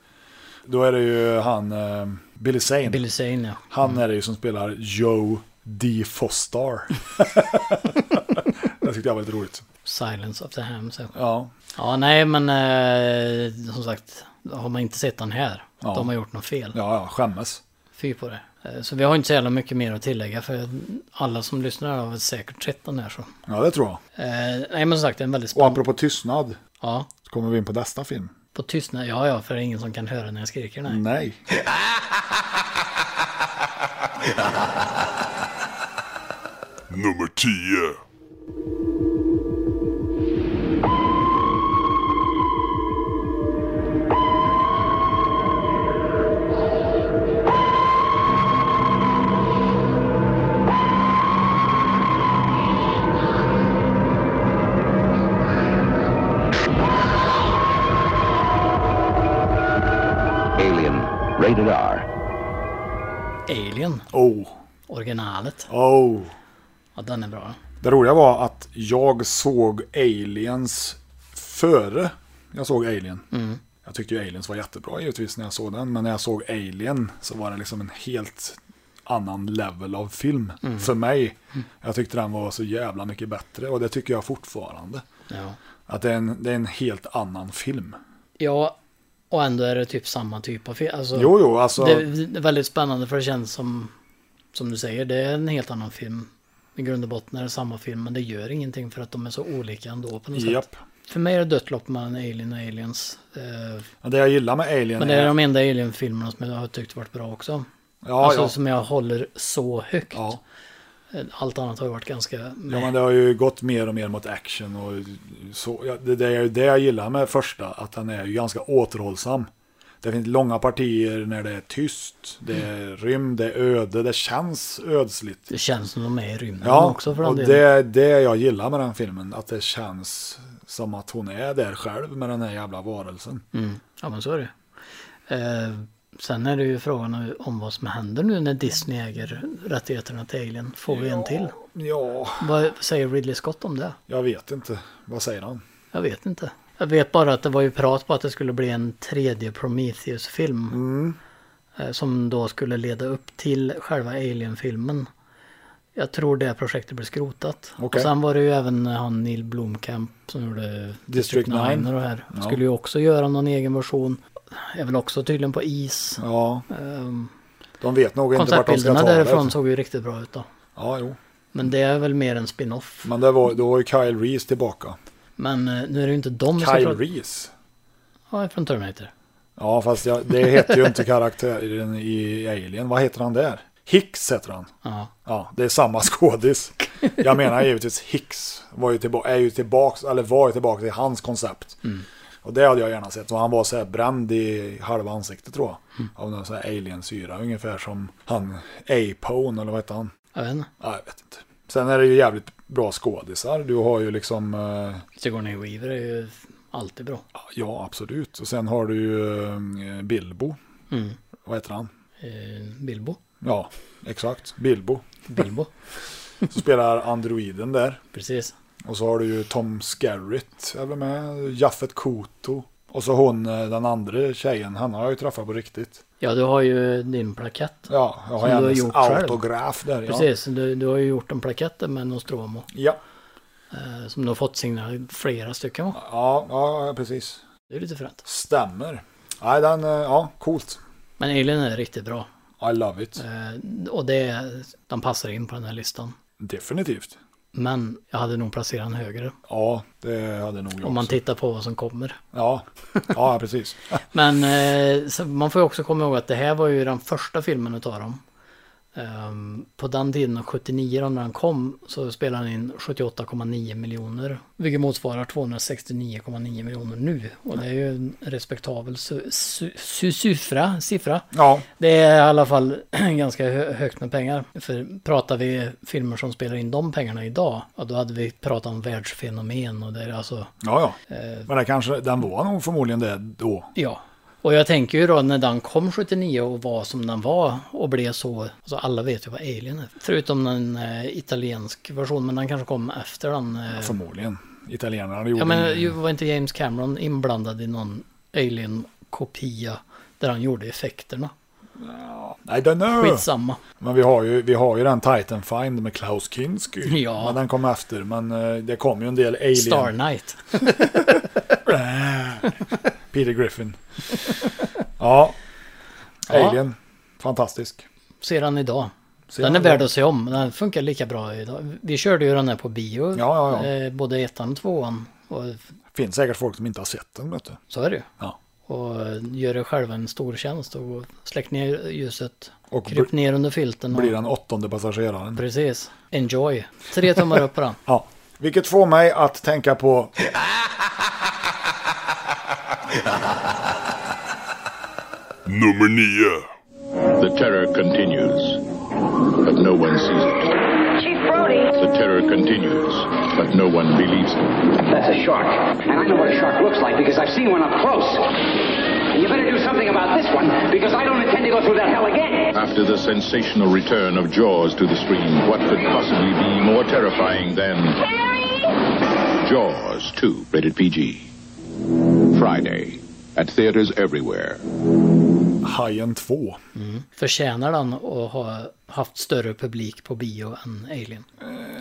C: Då är det ju han, eh, Billy Zane.
D: Billy Zane ja.
C: Han är det ju som spelar Joe D. Fostar. det tyckte jag var lite roligt.
D: Silence of the Hams. Ja.
C: Ja.
D: ja, nej men eh, som sagt, har man inte sett den här,
C: Ja.
D: de har gjort något fel.
C: Ja, ja, skämmes.
D: Fy på det. Eh, Så vi har inte så jävla mycket mer att tillägga för alla som lyssnar har väl säkert sett den här så.
C: Ja, det tror jag.
D: Eh, nej men som sagt, det är en väldigt
C: Och
D: spännande.
C: apropå tystnad
D: Ja,
C: så kommer vi in på nästa film.
D: på tystnad. Ja, ja, för det är ingen som kan höra när jag skriker. Nej.
C: Nej.
E: Nummer 10.
F: Alien. Rated R.
D: Alien,
C: Oh,
D: originalet.
C: oh.
D: Ja, den är bra.
C: Det roliga var att jag såg Aliens före jag såg Alien.
D: Mm.
C: Jag tyckte ju Aliens var jättebra givetvis när jag såg den. Men när jag såg Alien så var det liksom en helt annan level av film
D: Mm.
C: för mig. Jag tyckte den var så jävla mycket bättre och det tycker jag fortfarande.
D: Ja.
C: Att det är en, det är en helt annan film.
D: ja, och ändå är det typ samma typ av film. Alltså,
C: Jo, jo, alltså.
D: Det är väldigt spännande för det känns som, som du säger, det är en helt annan film. I grund och botten är det samma film, men det gör ingenting för att de är så olika ändå på något sätt.
C: Japp.
D: För mig är det dött lopp mellan Alien och Aliens. Eh,
C: Men Det jag gillar med Alien
D: Men det är de enda Alien-filmerna som jag har tyckt varit bra också.
C: Ja,
D: alltså
C: ja.
D: som jag håller så högt.
C: Ja.
D: Eh, Allt annat har ju varit ganska...
C: Ja, men det har ju gått mer och mer mot action. Och så, ja, det, det är ju det jag gillar med första, att den är ju ganska återhållsam. Det finns långa partier när det är tyst, det är
D: Mm.
C: rymd, det är öde, det känns ödsligt.
D: Det känns som de är i rymden
C: Ja,
D: också för
C: och
D: den
C: det
D: delen.
C: är det jag gillar med den filmen, att det känns som att hon är där själv med den här jävla varelsen.
D: Mm. Ja men så är det. Eh, sen är det ju frågan om vad som händer nu när Disney äger rättigheterna till Alien. Får vi en till?
C: Ja,
D: Vad säger Ridley Scott om det?
C: jag vet inte. Vad säger han?
D: Jag vet inte. Jag vet bara att det var ju prat på att det skulle bli en tredje Prometheus-film.
C: Mm.
D: Eh, Som då skulle leda upp till själva Alien-filmen. Jag tror det projektet blev skrotat.
C: Okej.
D: Och sen var det ju även han Neil Blomkamp som gjorde
C: District
D: Nine
C: 9.
D: och det här.
C: Ja.
D: Skulle ju också göra någon egen version. Är väl också tydligen på is.
C: Ja.
D: Ehm,
C: De vet nog inte vart de ska
D: Konceptbilderna
C: ta
D: därifrån
C: det. liksom.
D: såg ju riktigt bra ut då.
C: Ja, jo.
D: Men det är väl mer en spin-off.
C: Men det var, då var ju Kyle Reese tillbaka.
D: Men eh, nu är det ju inte de som...
C: Kyle
D: pratar-
C: Reese?
D: Ja, från Terminator.
C: Ja, fast jag, det heter ju inte karaktären i Alien. Vad heter han där? Hicks heter han.
D: Ja.
C: Ja, det är samma skådis. Jag menar givetvis Hicks var ju tillbaka, är ju tillbaks, eller var ju tillbaka till hans koncept.
D: Mm.
C: Och det hade jag gärna sett. Och han var så här bränd i halva ansiktet tror jag. Av någon sån här aliensyra. Ungefär som han Apone eller vad heter han?
D: Jag vet inte.
C: Ja, jag vet inte. Sen är det ju jävligt bra skådisar. Du har ju liksom... eh,
D: Sigourney Weaver är ju alltid bra.
C: Ja, absolut. Och sen har du ju eh, Bilbo.
D: Mm.
C: Vad heter han?
D: Eh, Bilbo.
C: Ja, exakt. Bilbo.
D: Bilbo.
C: Så spelar androiden där.
D: Precis.
C: Och så har du ju Tom Skerritt är väl med. Jaffet Koto. Och så hon, eh, den andra tjejen, han har jag ju träffat på riktigt.
D: Ja, du har ju din plakett.
C: Ja, jag har
D: Som du har
C: hennes
D: gjort själv.
C: autograf där. Ja.
D: Precis, du, du har ju gjort en plakett där med Nostromo.
C: Ja.
D: Eh, som du har fått signerad flera stycken va?
C: Ja, ja, ja, precis.
D: Det är lite fränt.
C: Stämmer. Nej, den, eh, ja, coolt.
D: Men Alien är riktigt bra.
C: I love it.
D: Eh, och det, är- de passar in på den här listan.
C: Definitivt.
D: Men jag hade nog placerat den högre.
C: Ja, det hade nog jag
D: Om man
C: också.
D: tittar på vad som kommer.
C: Ja, ja precis.
D: Men eh, så man får ju också komma ihåg att det här var ju den första filmen utav dem. Ehm, på den tiden, 79 då, när han kom, så spelade han in 78,9 miljoner. Vilket motsvarar 269,9 miljoner nu. Och det är ju en respektabel su- su- su- siffra. siffra.
C: Ja.
D: Det är i alla fall ganska hö- högt med pengar. För pratar vi filmer som spelar in de pengarna idag, ja, då hade vi pratat om världsfenomen och det är alltså...
C: Ja, ja.
D: eh,
C: Men det kanske, den var nog förmodligen det då.
D: Ja. Och jag tänker ju då när den kom 79 och var som den var och blev så, alltså alla vet ju vad Alien är. Förutom den eh, italiensk version, men den kanske kom efter den. Eh,
C: Förmodligen. Italienarna gjorde
D: ja men
C: ingen-
D: ju var inte James Cameron inblandad i någon Alien-kopia där han gjorde effekterna?
C: I don't know.
D: Skitsamma.
C: Men vi har ju, vi har ju den Titan Find med Klaus Kinski.
D: Ja.
C: Men den kom efter. Men eh, det kom ju en del Alien.
D: Star Knight.
C: Peter Griffin. ja.
D: Ja.
C: Alien. Fantastisk.
D: Ser han idag.
C: Ser
D: den
C: han
D: är värd
C: idag.
D: att se om. Den funkar lika bra idag. Vi körde ju den här på bio.
C: Ja, ja, ja.
D: Eh, både ettan och tvåan. Och
C: Finns säkert folk som inte har sett den. Vet du.
D: Så är det ju.
C: Ja.
D: Och eh, gör dig själv en stor tjänst och släck ner ljuset.
C: Och
D: Och kryp
C: bl-
D: ner under filten. Och...
C: Blir den åttonde passageraren.
D: Precis. Enjoy. Tre tummar upp på den.
C: Ja. Vilket får mig att tänka på
E: Nummer nio.
R: The terror continues, but no one sees it.
H: Chief Brody.
R: The terror continues, but no one believes it.
S: That's a shark. And I know what a shark looks like because I've seen one up close. And you better do something about this one because I don't intend to go through that hell again.
R: After the sensational return of Jaws to the screen, what could possibly be more terrifying than Jaws 2, rated PG? Friday, at theaters everywhere.
C: Hajen 2.
D: Förtjänar den att ha haft större publik på bio än Alien?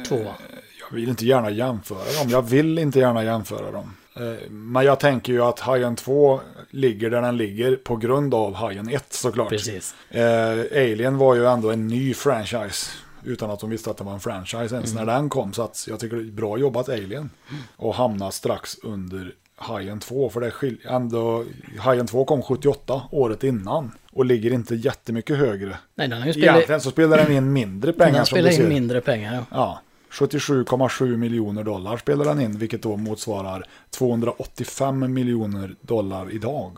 D: Tvåan.
C: Jag vill inte gärna jämföra dem. Jag vill inte gärna jämföra dem. Eh, Men jag tänker ju att Hajen 2 ligger där den ligger på grund av Hajen 1 såklart.
D: Precis.
C: Eh, Alien var ju ändå en ny franchise. Utan att de visste att det var en franchise ens
D: Mm.
C: när den kom. Så att jag tycker det är bra jobbat Alien. Och hamna strax under Hajen 2. För det är skil- ändå, Hajen 2 kom 78, året innan. Och ligger inte jättemycket högre.
D: Nej, den har ju spelat-
C: Egentligen så spelar den in mindre pengar
D: Den
C: som du
D: spelar in
C: ser.
D: mindre pengar. Ja.
C: Ja, 77,7 miljoner dollar spelar den in, vilket då motsvarar 285 miljoner dollar idag.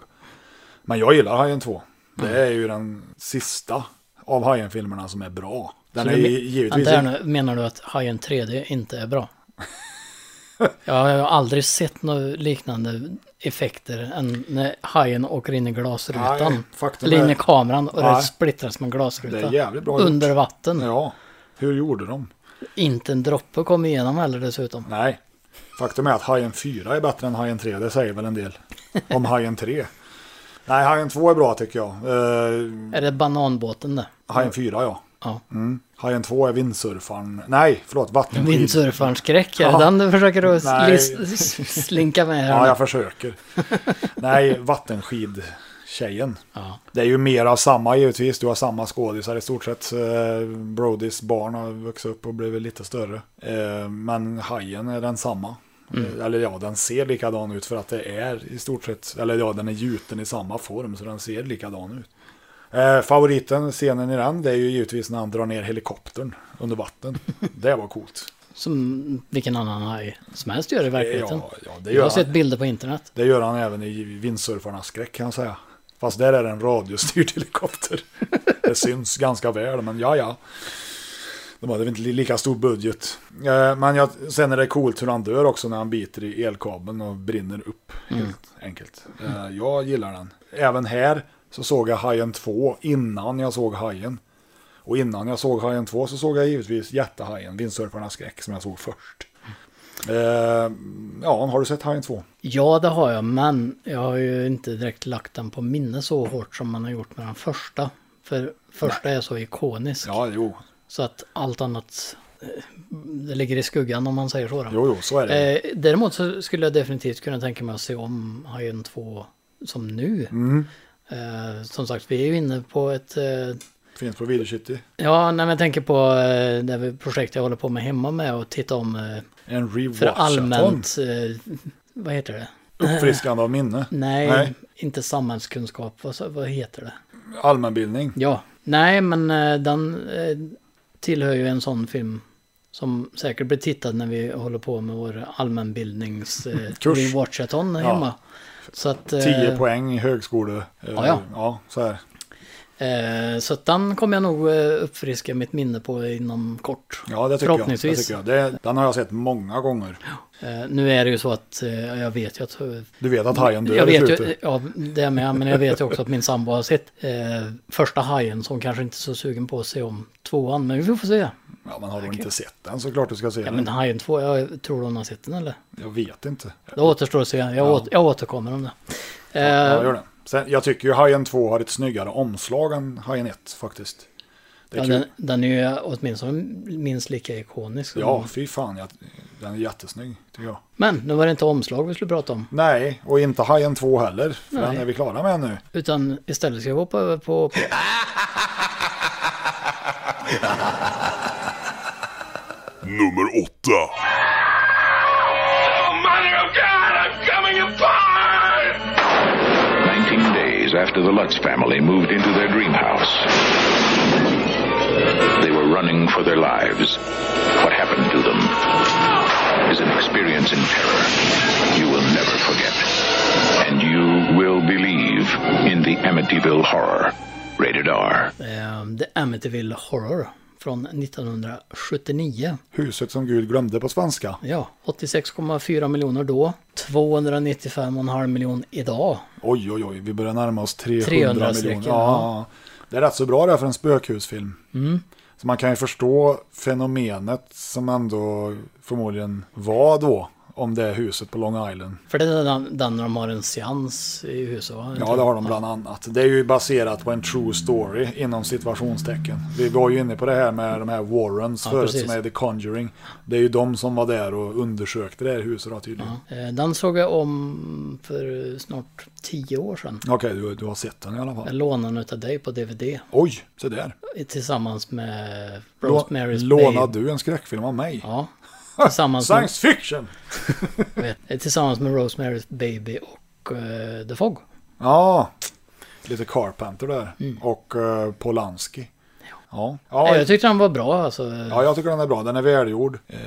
C: Men jag gillar Hajen 2.
D: Mm.
C: Det är ju den sista av Hajen-filmerna som är bra. Den
D: Så
C: är
D: du
C: ju
D: men-
C: givetvis...
D: Vänta här nu, menar du att Hajen 3D inte är bra? Jag har ju aldrig sett några liknande effekter än när hajen åker in i
C: Nej,
D: glasrutan.
C: faktum
D: Eller in
C: är-
D: i kameran och
C: Nej.
D: det splittras med glasrutan.
C: Det är jävligt bra gjort.
D: Under vatten.
C: Ja, hur gjorde de?
D: Inte en droppe kom igenom heller dessutom.
C: Nej, faktum är att Hajen 4 är bättre än Hajen 3. Det säger väl en del om Hajen 3. Nej, Hajen 2 är bra tycker jag. Eh,
D: Är det bananbåten det?
C: Hajen 4 ja.
D: Ja.
C: Mm. Hajen 2 är vindsurfaren. Nej, förlåt, vattenskid.
D: Vindsurfarens skräck, är det
C: Mm. Ja.
D: den du försöker att
C: Nej.
D: lis- s- slinka med här?
C: Ja, jag försöker. Nej, vattenskidtjejen.
D: Ja.
C: Det är ju mer av samma givetvis. Du har samma skådisar i stort sett. Eh, Brodys barn har vuxit upp och blivit lite större. Eh, Men hajen är den samma.
D: Mm.
C: Eh, Eller ja, den ser likadan ut för att det är i stort sett, eller ja, den är gjuten i samma form så den ser likadan ut. Eh, favoriten, scenen i den, det är ju givetvis när han drar ner helikoptern under vatten. Det var coolt.
D: Som vilken annan haj som helst gör i verkligheten.
C: Ja, ja, det gör
D: jag har
C: han.
D: sett bilder på internet.
C: Det gör han även i Vindsurfarnas skräck kan jag säga. Fast där är det en radiostyrd helikopter. Det syns ganska väl, men ja, ja. De hade väl inte li- lika stor budget. Eh, Men jag, sen är det coolt hur han dör också när han biter i elkabeln och brinner upp. Helt enkelt. Eh, Jag gillar den. Även här så såg jag Hajen 2 innan jag såg Hajen. Och innan jag såg Hajen 2 så såg jag givetvis Jättehajen, Vindsurfarnas skräck, som jag såg först. Eh, Ja, har du sett Hajen 2?
D: Ja, det har jag, men jag har ju inte direkt lagt den på minne så hårt som man har gjort med den första. För första är så ikonisk.
C: Ja, jo.
D: Så att allt annat eh, det ligger i skuggan om man säger så. Då.
C: Jo, jo, så är det.
D: Eh, däremot så skulle jag definitivt kunna tänka mig att se om Hajen 2 som nu.
C: Mm.
D: Eh, som sagt, vi är ju inne på ett... Eh,
C: Finns på Video City.
D: ja, när man tänker på eh, det vi- projekt jag håller på med hemma med och titta om... Eh,
C: En
D: för
C: rewatchathon.
D: allmänt... Eh, vad heter det?
C: Uppfriskande av minne.
D: Nej,
C: Nej.
D: inte samhällskunskap. Vad, sa- vad heter det?
C: Allmänbildning.
D: Ja. Nej, men eh, den eh, tillhör ju en sån film som säkert blir tittad när vi håller på med vår allmänbildnings eh,
C: Kurs.
D: rewatchathon
C: Ja.
D: hemma. Så att, eh,
C: 10 poäng i högskole... eh,
D: Ja, ja.
C: så här.
D: eh, så att den kommer jag nog eh, uppfriska mitt minne på inom kort.
C: Ja, det tycker jag. Det
D: Förhoppningsvis.
C: tycker jag. Det, den har jag sett många gånger.
D: Eh, nu är det ju så att eh, jag vet ju att...
C: Du vet att hajen dör
D: jag
C: i
D: vet ju,
C: slutet.
D: Ja, det med. Men jag vet ju också att min sambo har sett eh, första hajen som kanske inte är så sugen på att se om tvåan. Men vi får se.
C: Ja, man har du inte sett den så klart du ska se
D: Ja,
C: den.
D: men hajen två, jag tror hon har sett den eller?
C: Jag vet inte.
D: Det återstår att se. Jag,
C: Ja.
D: åt, jag återkommer om det. Eh,
C: Jag gör det. Sen, jag tycker ju Hajen 2 har ett snyggare omslag än Hajen 1 faktiskt. Det är
D: ja,
C: kul.
D: den, den är ju åtminstone minst lika ikonisk. som-
C: Ja, fy fan. Jag, den är jättesnygg tycker jag.
D: Men nu var det inte omslag vi skulle prata om.
C: Nej, och inte Hajen 2 heller. För
D: Nej.
C: den är vi klara med nu.
D: Utan istället ska vi hoppa över på... på
E: Nummer åtta.
O: Oh, mother of God, I'm coming apart!
R: 19 days after the Lutz family moved into their dream house, they were running for their lives. What happened to them is an experience in terror you will never forget. And you will believe in the Amityville horror. Rated R.
D: eh, The Amityville Horror från 1979.
C: Huset som Gud glömde på svenska.
D: Ja, 86,4 miljoner då. 295,5 miljoner idag.
C: Oj, oj, oj, vi börjar närma oss 300,
D: 300
C: miljoner.
D: strecken,
C: Ja, ja. Det är rätt så bra det här för en spökhusfilm.
D: Mm.
C: Så man kan ju förstå fenomenet som ändå förmodligen var då, om det är huset på Long Island.
D: För det är den, den när de har en seans i huset va?
C: Ja, det har de bland annat. Det är ju baserat på en true story inom situationstecken. Vi var ju inne på det här med de här Warrens
D: Ja,
C: förut
D: precis.
C: som är The Conjuring. Det är ju de som var där och undersökte det här huset då, tydligen.
D: Eh, Den såg jag om för snart 10 år sedan.
C: Okej, du, du har sett den i alla
D: Jag
C: fall.
D: lånade den utav dig på DVD.
C: Oj, så där.
D: Tillsammans med
C: Lå-
D: Rosemary's
C: Lånade du en skräckfilm av mig?
D: Ja. alltså. Tillsammans med,
C: Science fiction!
D: eh, tillsammans med Rosemary's Baby och eh, The Fog.
C: Ja, lite Carpenter där. Och eh, Polanski. Ja. Ja.
D: Eh,
C: Ja,
D: Mm. Jag tyckte den var bra alltså.
C: ja, jag tycker den är bra. Den är välgjord. Eh,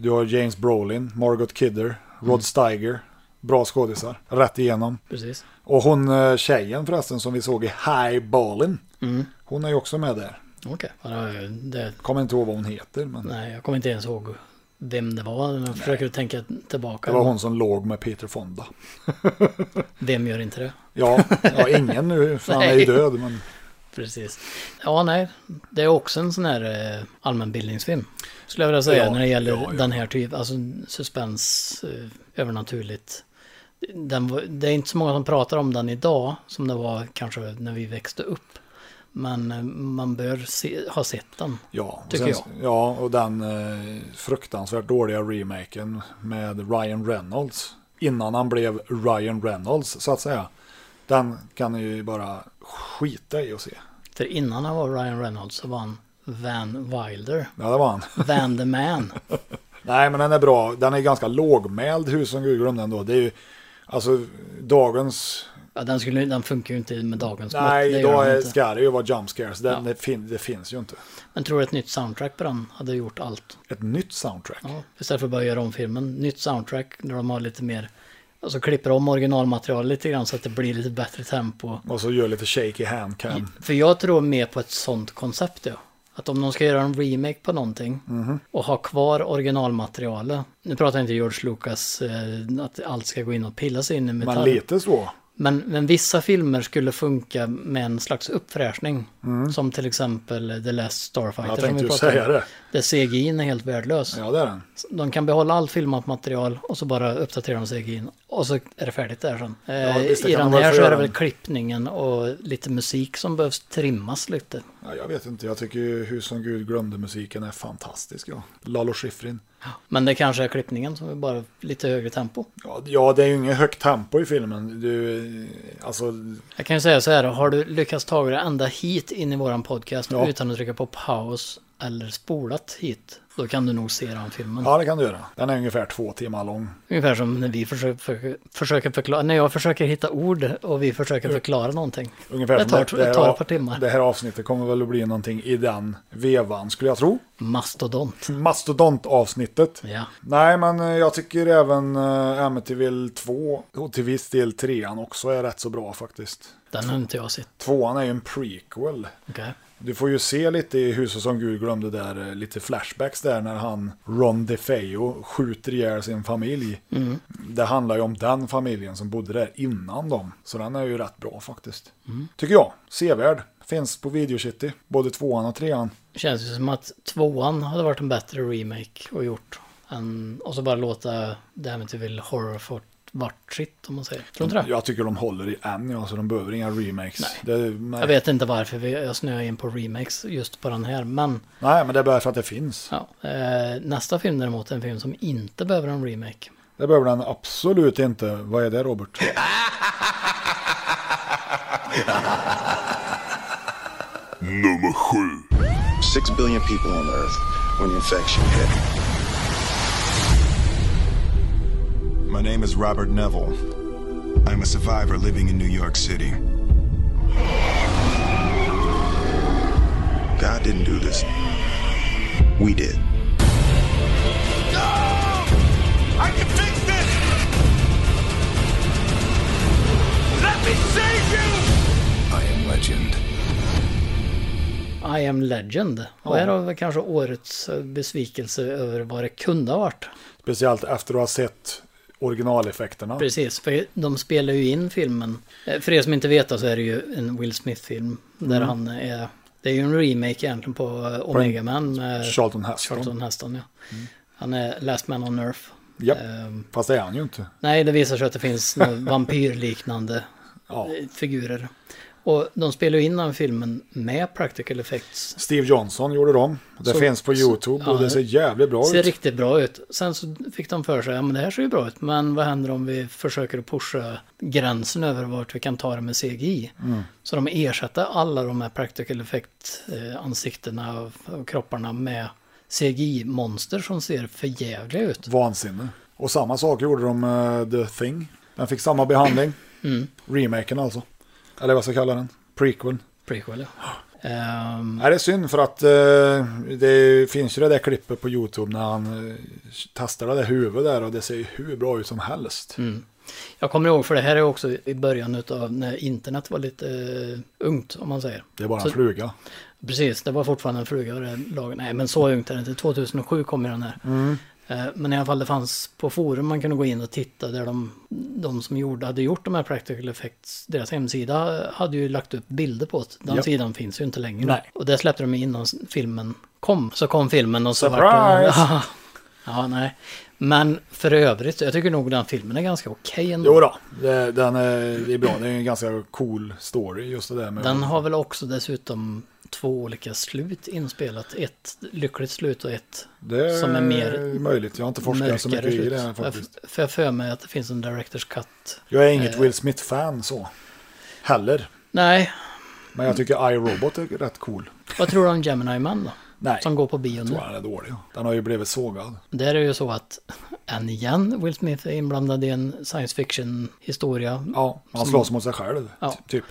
C: du har James Brolin, Margot Kidder, Rod
D: Mm.
C: Steiger. Bra skådisar, rätt igenom.
D: Precis.
C: Och hon eh, tjejen förresten som vi såg i High Ballin.
D: Mm.
C: Hon är ju också med där.
D: Okej. Ja, det-
C: Kommer inte ihåg vad hon heter. Men
D: Nej, jag kommer inte ens ihåg vem det var. Jag försöker tänka tillbaka.
C: det var hon som låg med Peter Fonda.
D: Vem gör inte det?
C: Ja, ja ingen nu för han är ju
D: Nej.
C: död. Men...
D: Precis. Ja, nej. Det är också en sån här eh, allmänbildningsfilm. Skulle jag vilja säga
C: Ja,
D: när det gäller
C: ja, ja.
D: den här typen. Alltså suspens, eh, övernaturligt. Den, var- det är inte så många som pratar om den idag som det var kanske när vi växte upp. Men eh, man bör se, ha sett den.
C: Ja, och
D: tycker
C: sen- Ja, och den eh, fruktansvärt dåliga remaken med Ryan Reynolds. Innan han blev Ryan Reynolds, så att säga. Den kan ni ju bara skita i och se.
D: jag. För innan han var Ryan Reynolds så var han Van Wilder.
C: Ja, det var han.
D: Van the Man.
C: Nej, men den är bra. Den är ganska lågmäld, Hus som Gud glömde ändå. Det är ju, alltså, dagens...
D: Ja, den, skulle, den funkar ju inte med dagens mått,
C: Nej,
D: det gör
C: idag
D: den
C: är-
D: inte.
C: ska det ju vara jump scares. Den, det, fin, det finns ju inte.
D: Men tror du ett nytt soundtrack på den hade gjort allt?
C: Ett nytt soundtrack?
D: Ja, istället för att bara göra om filmen. Nytt soundtrack där de har lite mer... Alltså klipper om originalmaterialet lite grann så att det blir lite bättre tempo.
C: Och så gör lite shaky handcam.
D: För jag tror mer på ett sånt koncept ja. Att om de ska göra en remake på någonting
C: Mhm.
D: och ha kvar originalmaterialet. Nu pratar jag inte George Lucas eh, att allt ska gå in och pilla sig in i metall.
C: Men lite så.
D: Men, men vissa filmer skulle funka med en slags uppfräschning. Som till exempel The Last Starfighter.
C: Mhm. Jag
D: som vi
C: tänkte ju
D: pratade om.
C: säga det.
D: Där CGI är helt värdelös.
C: Ja, det är den.
D: De kan behålla allt filmat material och så bara uppdatera de CGI. Och så är det färdigt där sen. Eh,
C: Ja, visst, det
D: I
C: kan
D: den
C: de väl
D: här
C: få
D: så är det
C: göra.
D: väl klippningen och lite musik som behövs trimmas lite.
C: Ja, jag vet inte, jag tycker ju Hus som Gud glömde musiken är fantastisk. Ja. Lalo Schifrin.
D: Men det kanske är klippningen som är bara lite högre tempo.
C: Ja, Ja, det är ju inget högt tempo i filmen. Du, alltså,
D: Jag kan ju säga så här, har du lyckats ta dig ända hit in i våran podcast
C: Ja.
D: utan att trycka på paus eller spolat hit, då kan du nog se den filmen.
C: ja, det kan du göra. Den är ungefär två timmar lång.
D: Ungefär som när vi försöker, för, försöker förklara, när jag försöker hitta ord och vi försöker förklara någonting.
C: Ungefär
D: det
C: som
D: tar, det,
C: här
D: tar
C: av-
D: ett par timmar.
C: Det här avsnittet kommer väl att bli någonting i den vevan, skulle jag tro.
D: Mastodont.
C: Mastodont-avsnittet.
D: Ja.
C: Nej, men eh, jag tycker även eh, Amityville 2 och till viss del 3 också är rätt så bra faktiskt.
D: Den har inte jag sett.
C: Tvåan är ju en prequel.
D: Okej.
C: Du får ju se lite i Huset som Gud glömde där, eh, lite flashbacks där när han, Ron DeFeo, skjuter ihjäl sin familj.
D: Mm.
C: Det handlar ju om den familjen som bodde där innan dem. Så den är ju rätt bra faktiskt.
D: Mm.
C: Tycker jag. Sevärd. Finns på Video City. Både tvåan och trean.
D: Känns ju som att tvåan hade varit en bättre remake och gjort. Än, och så bara låta Damnityville typ Horror fort vart sitt om man säger. Tror du inte det?
C: Jag tycker de håller i än, ja, så de behöver inga remakes. Nej. Det, nej.
D: Jag vet inte varför vi, jag snöar in på remakes just på den här. Men
C: nej, men det är bara för att det finns.
D: eh, nästa film däremot är en film som inte behöver en remake.
C: Det behöver den absolut inte. Vad är det Robert?
E: Nummer sju.
T: Six billion people on Earth when the infection hit.
U: My name is Robert Neville. I'm a survivor living in New York City.
T: God didn't do this. We did.
O: I can fix this! Let me save you!
U: I am legend.
D: I am legend. Och
C: Ja.
D: här har vi kanske årets eh, besvikelse över vad det kunde ha varit.
C: Speciellt efter att ha sett originaleffekterna.
D: Precis, för de spelar ju in filmen. Eh, För er som inte vet då så är det ju en Will Smith-film. Där
C: Mm.
D: han är... Det är ju en remake egentligen på eh, Omega Man. eh,
C: Charlton Heston. Mm.
D: Charlton Heston, ja. Han är Last Man on Earth.
C: Ja,
D: Ehm,
C: fast det är han ju inte.
D: nej, det visar sig att det finns några vampyrliknande eh, figurer. Och de spelar ju in den filmen med practical effects.
C: Steve Johnson gjorde dem. Det
D: Så-
C: finns på
D: så-
C: YouTube och
D: ja,
C: det ser jävligt bra
D: ser
C: ut.
D: riktigt bra ut. Sen så fick de för sig, ja men det här ser ju bra ut, men vad händer om vi försöker att pusha gränsen över vart vi kan ta det med CGI?
C: Mm.
D: Så de ersatte alla de här practical effect-ansiktena och kropparna med CGI-monster som ser för jävliga ut.
C: Vansinne. Och samma sak gjorde de med The Thing. Den fick samma behandling.
D: Mm.
C: Remaken alltså. Eller vad ska jag kalla den? Prequel.
D: Prequel, ja. Ehm,
C: Nej, det är synd för att eh, det finns ju det där klippet på YouTube när han eh, testar det där huvudet där och det ser ju hur bra ut som helst.
D: Mm. Jag kommer ihåg, för det här är också i början av när internet var lite eh, ungt, om man säger.
C: Det är bara en fluga.
D: Precis, det var fortfarande en fluga vid det här laget. Nej, men så ungt är det inte. 2007 kom ju den här.
C: Mm.
D: Eh, Men i alla fall det fanns på forum man kunde gå in och titta där de, de som gjorde, hade gjort de här practical effects, deras hemsida eh, hade ju lagt upp bilder på det. Den
C: Ja.
D: sidan finns ju inte längre.
C: Nej.
D: Och det släppte de innan filmen kom. Så kom filmen och så
C: Surprise!
D: vart det... Ja, nej. Men för övrigt, jag tycker nog den filmen är ganska okej ändå.
C: Jo då, det, den är, det är bra. Det är en ganska cool story just det där med...
D: Den har väl också dessutom två olika slut inspelat. Ett lyckligt slut och ett
C: det
D: som är mer
C: möjligt. Jag har inte forskat så mycket
D: mörkare
C: i
D: slut.
C: det här
D: För jag-
C: faktiskt.
D: För jag för mig att det finns en director's cut.
C: Jag är inget
D: Eh,
C: Will Smith-fan så. Heller.
D: Nej,
C: Men jag tycker I, Robot är rätt cool.
D: vad tror du om Gemini Man då?
C: Nej.
D: Som går på bio
C: Jag
D: nu.
C: tror han är dålig. Den har ju blivit sågad.
D: Där är det ju så att, än igen, Will Smith är inblandad i en science fiction-historia.
C: Ja, Han slåss mot sig själv.
D: Ja.
C: Typ.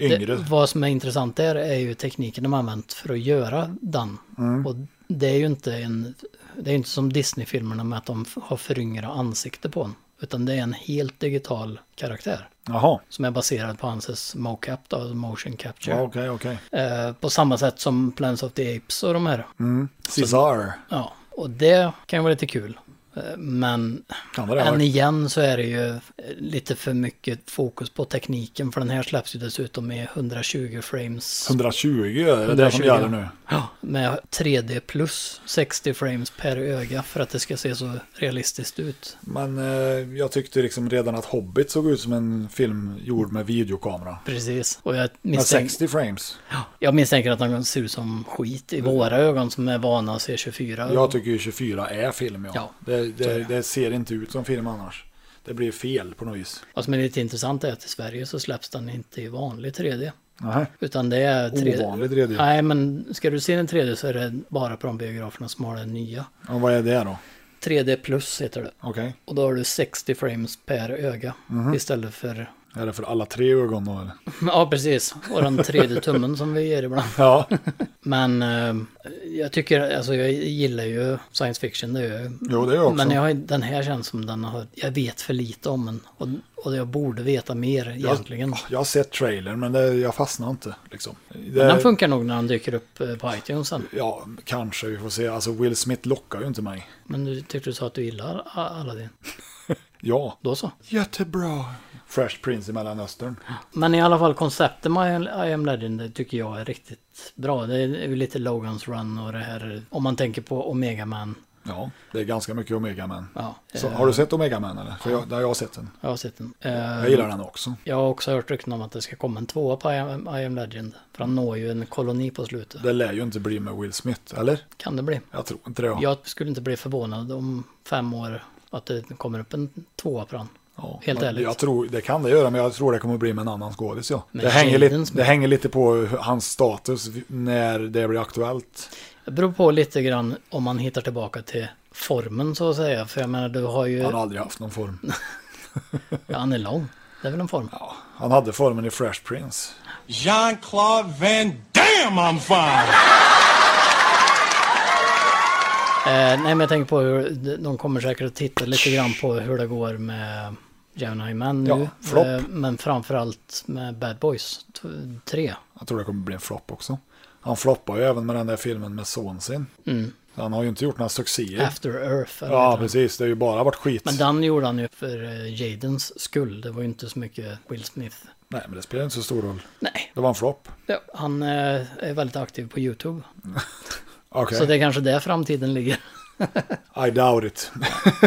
C: Yngre.
D: Det, vad som är intressant där är ju tekniken de har använt för att göra den.
C: Mm.
D: Och det är ju inte en... Det är inte som Disney-filmerna med att de f- har föryngra ansikte på en. Utan det är en helt digital karaktär.
C: Jaha.
D: Som är baserad på hans mocap, då, motion capture.
C: Ja, Okej, okej.
D: Eh, på samma sätt som Plans of the Apes och de här.
C: Mm. Cesar.
D: Ja, och det kan ju vara lite kul. Eh, Men
C: vara det,
D: än
C: ja.
D: igen så är det ju eh, lite för mycket fokus på tekniken. För den här släpps ju dessutom i 120 frames.
C: 120 är det det som
D: 120.
C: gäller nu.
D: Ja, med 3D plus 60 frames per öga för att det ska se så realistiskt ut.
C: Men eh, jag tyckte liksom redan att Hobbit såg ut som en film gjord med videokamera.
D: Precis. Och jag
C: Med
D: misstänker,
C: 60 frames.
D: jag misstänker att den ser ut som skit
C: Mm.
D: i våra ögon som är vana att se 24.
C: Jag tycker ju 24 är film, ja.
D: Ja,
C: det,
D: så
C: det,
D: är det.
C: det ser inte ut som film annars. Det blir fel på något vis.
D: Vad som är lite intressant är att i Sverige så släpps den inte i vanlig 3D.
C: Nähä.
D: Utan det är 3D.
C: Ovanlig 3D.
D: Nej, men ska du se den 3D så är det bara på de biograferna som har den nya.
C: Ja, vad är det då?
D: 3D plus heter det.
C: Okej.
D: Och då har du 60 frames per öga
C: Mhm.
D: istället för...
C: Är det för alla tre ögon då eller?
D: Ja, precis. Och den 3D-tummen som vi ger ibland.
C: Ja.
D: Men eh, jag tycker, alltså jag gillar ju science fiction, det gör jag.
C: Jo, det gör jag också.
D: Men jag, har- den här känns som den har, jag vet för lite om den. Och, och jag borde veta mer egentligen.
C: Jag, jag har sett trailern men det, jag fastnar inte. Liksom. Det,
D: Men den funkar nog när den dyker upp eh, på iTunes sen.
C: Ja, kanske vi får se. Alltså Will Smith lockar ju inte mig.
D: Men du tyckte du sa att du gillar A- Aladdin.
C: Ja.
D: Då så.
C: Jättebra. Fresh Prince i Mellanöstern.
D: Men i alla fall konceptet med I am Legend det tycker jag är riktigt bra. Det är ju lite Logans Run och det här, om man tänker på Omega Man.
C: Ja, det är ganska mycket Omega Man.
D: Ja.
C: Så,
D: Eh,
C: har du sett Omega Man eller? För jag, där jag har sett den.
D: Jag har sett den. Eh,
C: Jag gillar den också.
D: Jag har också hört rykten om att det ska komma en tvåa på I am, I am Legend. För han når ju en koloni på slutet.
C: Det lär ju inte bli med Will Smith, eller?
D: Kan det bli.
C: Jag tror inte det. Ja.
D: Jag skulle inte bli förvånad om fem år att det kommer upp en tvåa på den. Helt
C: Men
D: ärligt.
C: Jag tror, det kan det göra, men jag tror det kommer bli med en annan skådis. Ja.
D: Men
C: Det, hänger
D: Jaden
C: lite,
D: Smith-
C: det hänger lite på hur- hans status när det blir aktuellt.
D: Det beror på lite grann om man hittar tillbaka till formen så att säga. För jag menar du har ju...
C: Han har aldrig haft någon form.
D: Ja, han är lång. Det är väl en form.
C: Han hade formen i Fresh Prince.
O: Jean-Claude Van Damme, I'm fine.
D: Eh, nej men jag tänker på hur de kommer säkert att titta lite grann på hur det går med Gemini Man nu. Eh,
C: Ja, flopp.
D: men framförallt med Bad Boys 3.
C: Jag tror det kommer bli en flopp också. Han floppar ju även med den där filmen med son sin.
D: Mm.
C: Han har ju inte gjort några succéer.
D: After Earth. eller vad
C: ja,
D: heter den?
C: precis. Det har ju bara varit skit.
D: Men den gjorde han ju för eh, Jadens skull. Det var ju inte så mycket Will Smith.
C: Nej, men det spelar inte så stor roll.
D: Nej.
C: Det var en flopp.
D: Ja, han eh, är väldigt aktiv på YouTube.
C: Okej.
D: Så det är kanske där framtiden ligger.
C: I doubt it.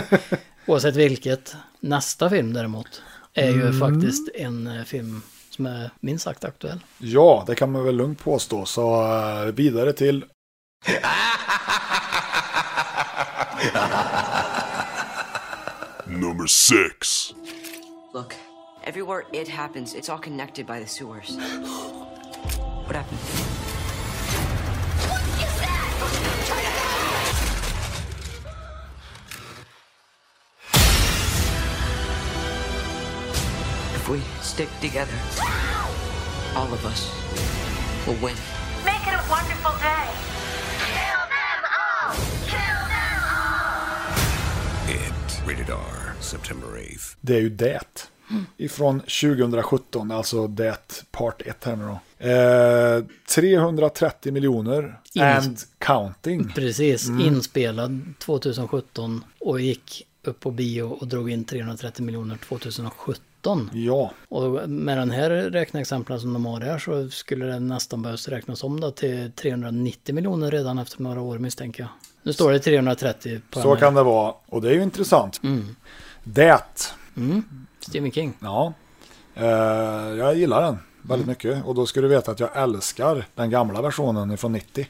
D: Oavsett vilket. Nästa film däremot är ju
C: Mm.
D: faktiskt en eh, film som är minst sagt aktuell.
C: Ja, det kan man väl lugnt påstå. Så eh, vidare till...
E: Number six.
A: Look, everywhere it happens, it's all connected by the sewers. What happened? If we stick together, all of us will win.
H: Make it a wonderful day. Kill them all! Kill them all!
K: It. Rated R. September 8th.
C: Det är ju det. Ifrån 2017, alltså det part 1 här nu då. Eh, 330 miljoner
D: In-
C: and counting.
D: Precis,
C: Mm.
D: inspelad 2017 och gick upp på bio och drog in 330 miljoner 2017. 2017.
C: Ja.
D: Och med den här räkneexemplen som de har här så skulle det nästan behövs räknas om då till 390 miljoner redan efter några år misstänker jag. Nu står det 330 på
C: Så
D: den här.
C: kan det vara. Och det är ju intressant.
D: Mm.
C: Det.
D: Mm. Stephen King.
C: Ja. Eh, jag gillar den
D: Mm.
C: väldigt mycket. Och då ska du veta att jag älskar den gamla versionen från 90.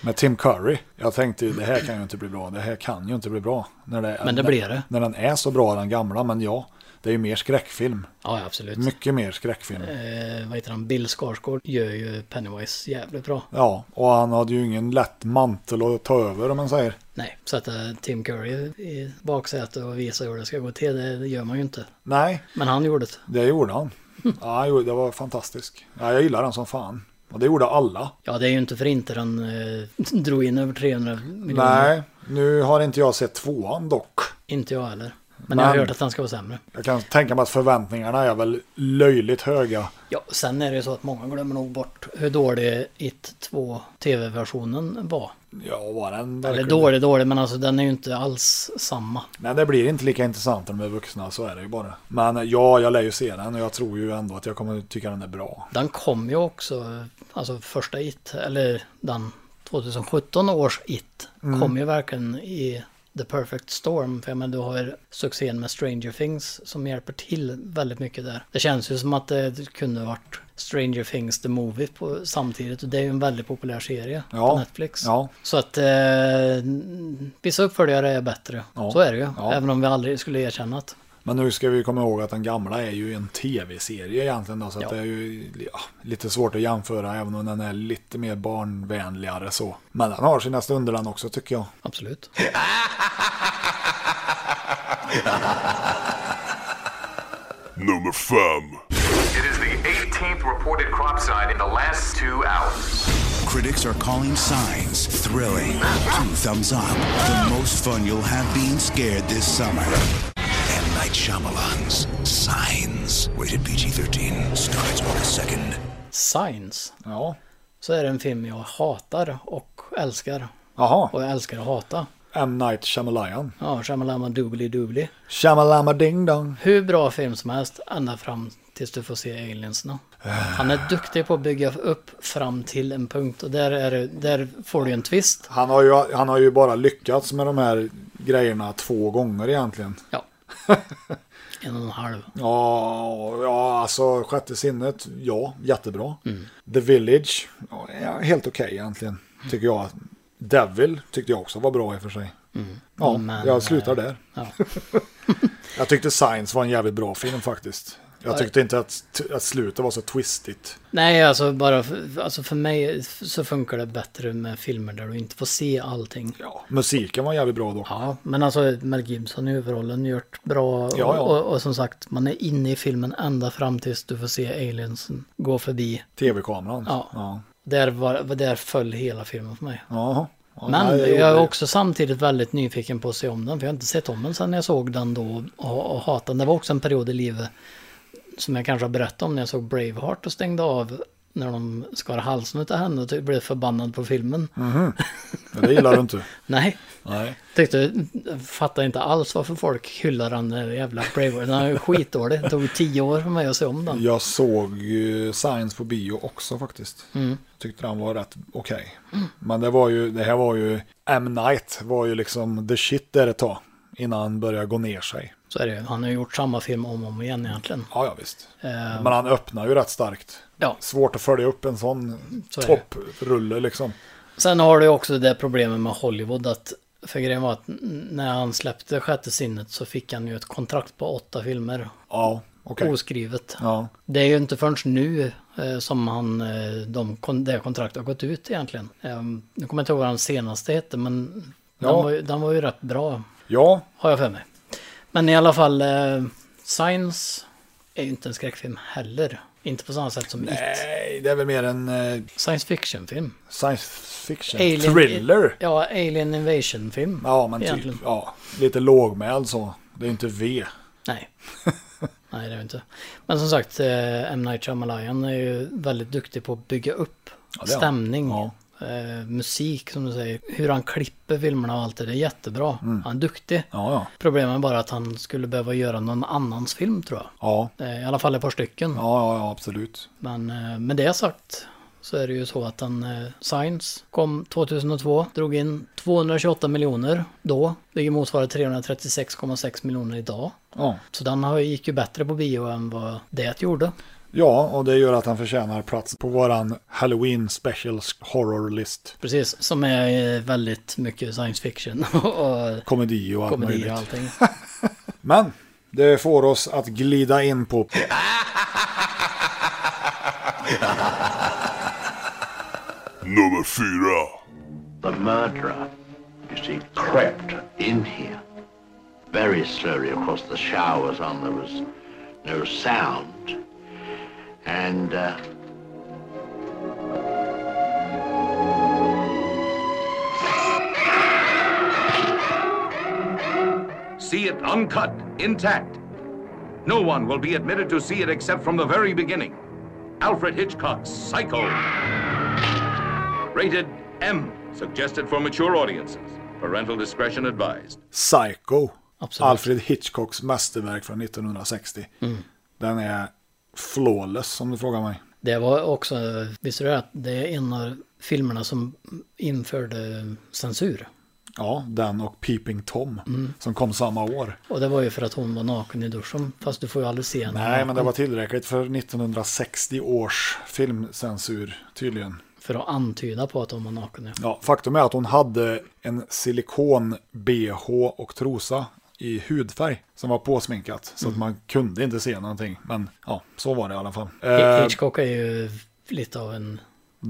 C: Med Tim Curry. Jag tänkte ju det här kan ju inte bli bra. Det här kan ju inte bli bra. När det,
D: Men det
C: när-
D: blir det.
C: När den är så bra den gamla. Men ja, det är ju mer skräckfilm.
D: Ja, ja, absolut.
C: Mycket mer skräckfilm.
D: Eh, vad heter han? Bill Skarsgård gör ju Pennywise jävligt bra.
C: Ja, och han hade ju ingen lätt mantel att ta över om man säger.
D: Nej, sätta Tim Curry i baksätet och visa hur det ska gå till, det gör man ju inte.
C: Nej,
D: Men han gjorde det.
C: det gjorde han. Ja, han gjorde- det var fantastiskt. Ja, jag gillar den som fan. Och det gjorde alla.
D: Ja, det är ju inte för inte den eh, drog in över 300 miljoner.
C: Nej, nu har inte jag sett tvåan dock.
D: Inte jag heller. Men, jag har
C: Men-
D: hört att den ska vara sämre.
C: Jag kan tänka mig att förväntningarna är väl löjligt höga.
D: Ja, sen är det ju så att många glömmer nog bort hur dålig It 2 TV-versionen var.
C: Ja, var den
D: Eller
C: verkligen-
D: dålig, dålig, men alltså den är ju inte alls samma.
C: Nej, det blir inte lika intressant när de är vuxna, så är det ju bara. Men ja, jag lär ju se den och jag tror ju ändå att jag kommer tycka den är bra.
D: Den kom ju också, alltså första It, eller den 2017 års It,
C: Mm.
D: kom ju verkligen i The Perfect Storm. För jag menar, du har ju succén med Stranger Things som hjälper till väldigt mycket där. Det känns ju som att det kunde varit Stranger Things the Movie på, samtidigt. Och det är ju en väldigt populär serie på
C: Ja,
D: Netflix.
C: ja.
D: Så att eh, vissa uppföljare är bättre.
C: Ja,
D: Så är det ju.
C: ja.
D: Även om vi aldrig skulle erkänna att
C: Men nu ska vi komma ihåg att den gamla är ju en tv-serie egentligen då, så att det är ju ja, lite svårt att jämföra även om den är lite mer barnvänligare så. Men den har sina stunder den också tycker jag.
D: Absolut.
E: Nummer fem.
B: It is the 18th reported crop side in the last two hours.
V: Critics are calling signs thrilling. Two thumbs up. The most fun you'll have being scared this summer.
W: M. Night Shyamalan's Signs, rated PG 13, starts August 2nd.
D: Signs.
C: Ja.
D: Så är det en film jag hatar och älskar.
C: Jaha.
D: Och jag älskar att hata.
C: M. Night Shyamalan.
D: Ja, Shamalama Doobly Doobly.
C: Shamalama Ding Dong.
D: Hur bra film som helst ända fram tills du får se aliensna. Han är duktig på att bygga upp fram till en punkt och där, är, det- där får du en twist.
C: Han har, ju, han har ju bara lyckats med de här grejerna två gånger egentligen.
D: Ja. En och en halv.
C: Ja, ja alltså sjätte sinnet, ja, jättebra.
D: Mm.
C: The Village, ja, ja, helt okej egentligen, tycker jag. Devil tyckte jag också var bra i och för sig. Ja,
D: Mm. Men,
C: jag slutar
D: eh,
C: där.
D: ja.
C: jag tyckte Science var en jävligt bra film faktiskt. Jag tyckte inte att, att slutet var så twistigt.
D: Nej, alltså bara för, alltså för mig så funkar det bättre med filmer där du inte får se allting.
C: Musiken var jävligt bra dock.
D: Ja, men alltså Mel Gibson i huvudrollen gjort bra.
C: Ja, ja.
D: Och, och som sagt, man är inne i filmen ända fram tills du får se aliensen gå förbi.
C: Tv-kameran.
D: Ja.
C: Ja.
D: Där, var, där föll hela filmen för mig.
C: Jaha. Ja,
D: men
C: nej,
D: jag,
C: gjorde
D: är
C: det.
D: också samtidigt väldigt nyfiken på att se om den. För jag har inte sett om den sedan jag såg den då och, och hatade den. Det var också en period i livet som jag kanske har berättat om när jag såg Braveheart och stängde av när de skar halsen utav henne och typ blev förbannad på filmen.
C: Mhm. Ja, det gillar du inte.
D: Nej.
C: Nej.
D: Tyckte, fattar inte alls varför folk hyllar den där jävla Braveheart. Den är ju skitdålig. Det tog tio år för mig att se om den.
C: Jag såg ju Science på bio också faktiskt.
D: Mm.
C: Tyckte han var rätt okej.
D: Mm.
C: Men det var ju, det här var ju, M. Night var ju liksom the shit där ett tag. Innan han började gå ner sig.
D: Så är det ju. Han har ju gjort samma film om och om igen egentligen.
C: Ja, ja visst.
D: Eh,
C: Men han öppnar ju rätt starkt.
D: Ja.
C: Svårt att följa upp en sån
D: Så är det.
C: topprulle liksom.
D: Sen har du också det problemet med Hollywood att för grejen var att n- när han släppte Sjätte sinnet så fick han ju ett kontrakt på åtta filmer.
C: Ja, okej.
D: Oskrivet.
C: Ja.
D: Det är ju inte förrän nu eh, som han, eh, de, kon- det kontraktet har gått ut egentligen. Eh, nu kommer jag inte ihåg vad den senaste hette men den,
C: Ja.
D: var, ju- den var ju rätt bra.
C: Ja.
D: Har jag för mig. Men i alla fall, eh, Science är ju inte en skräckfilm heller. Inte på samma sätt som
C: Nej, det är väl mer en... eh,
D: Science fiction-film.
C: Science fiction.
D: Alien-
C: Thriller.
D: Ja, Alien Invasion-film.
C: Ja, men typ.
D: egentligen.
C: Ja, lite lågmäld så. Det är inte V.
D: Nej. Nej, det är det inte. Men som sagt, eh, M. Night Shyamalan är ju väldigt duktig på att bygga upp
C: Ja, det är han.
D: stämning. eh, musik som du säger. Hur han klipper filmerna och allt det, det är jättebra.
C: Mm.
D: Han är duktig.
C: Ja, ja.
D: Problemet är bara att han skulle behöva göra någon annans film tror jag.
C: Ja.
D: Eh, I alla fall ett par stycken.
C: Ja, ja, absolut.
D: Men eh, med det sagt så är det ju så att den eh, Science kom 2002, drog in 228 miljoner då. Det motsvarar 336,6 miljoner idag.
C: Ja.
D: Så den har- gick ju bättre på bio än vad det gjorde.
C: ja, och det gör att han förtjänar plats på våran Halloween Special Horror List.
D: Precis, som är eh, väldigt mycket science fiction och
C: Komedi och allt
D: komedi
C: möjligt.
D: och allting.
C: Men det får oss att glida in på
E: Nummer fyra.
G: The murderer, you see, crept in here. Very slowly, of course, the shower was on, there was no sound. And uh,
I: See it uncut, intact. No one will be admitted to see it except from the very beginning. Alfred Hitchcock's Psycho. Rated M, suggested for mature audiences. Parental discretion advised.
C: Psycho.
D: Absolut.
C: Alfred Hitchcocks mästerverk från 1960.
D: Mm.
C: Den är flawless om du frågar mig.
D: Det var också, visste du det, att det är en av filmerna som införde censur.
C: Ja, den och Peeping Tom
D: Mm.
C: som kom samma år.
D: Och det var ju för att hon var naken i duschen, fast du får ju aldrig se henne
C: Nej,
D: naken.
C: men det var tillräckligt för 1960 års filmcensur tydligen.
D: För att antyda på att hon var naken.
C: Ja, faktum är att hon hade en silikon-bh och trosa i hudfärg som var påsminkat. Så att
D: Mm.
C: man kunde inte se någonting. Men ja, så var det i alla fall.
D: Hi-
C: Eh,
D: Hitchcock är ju lite av en...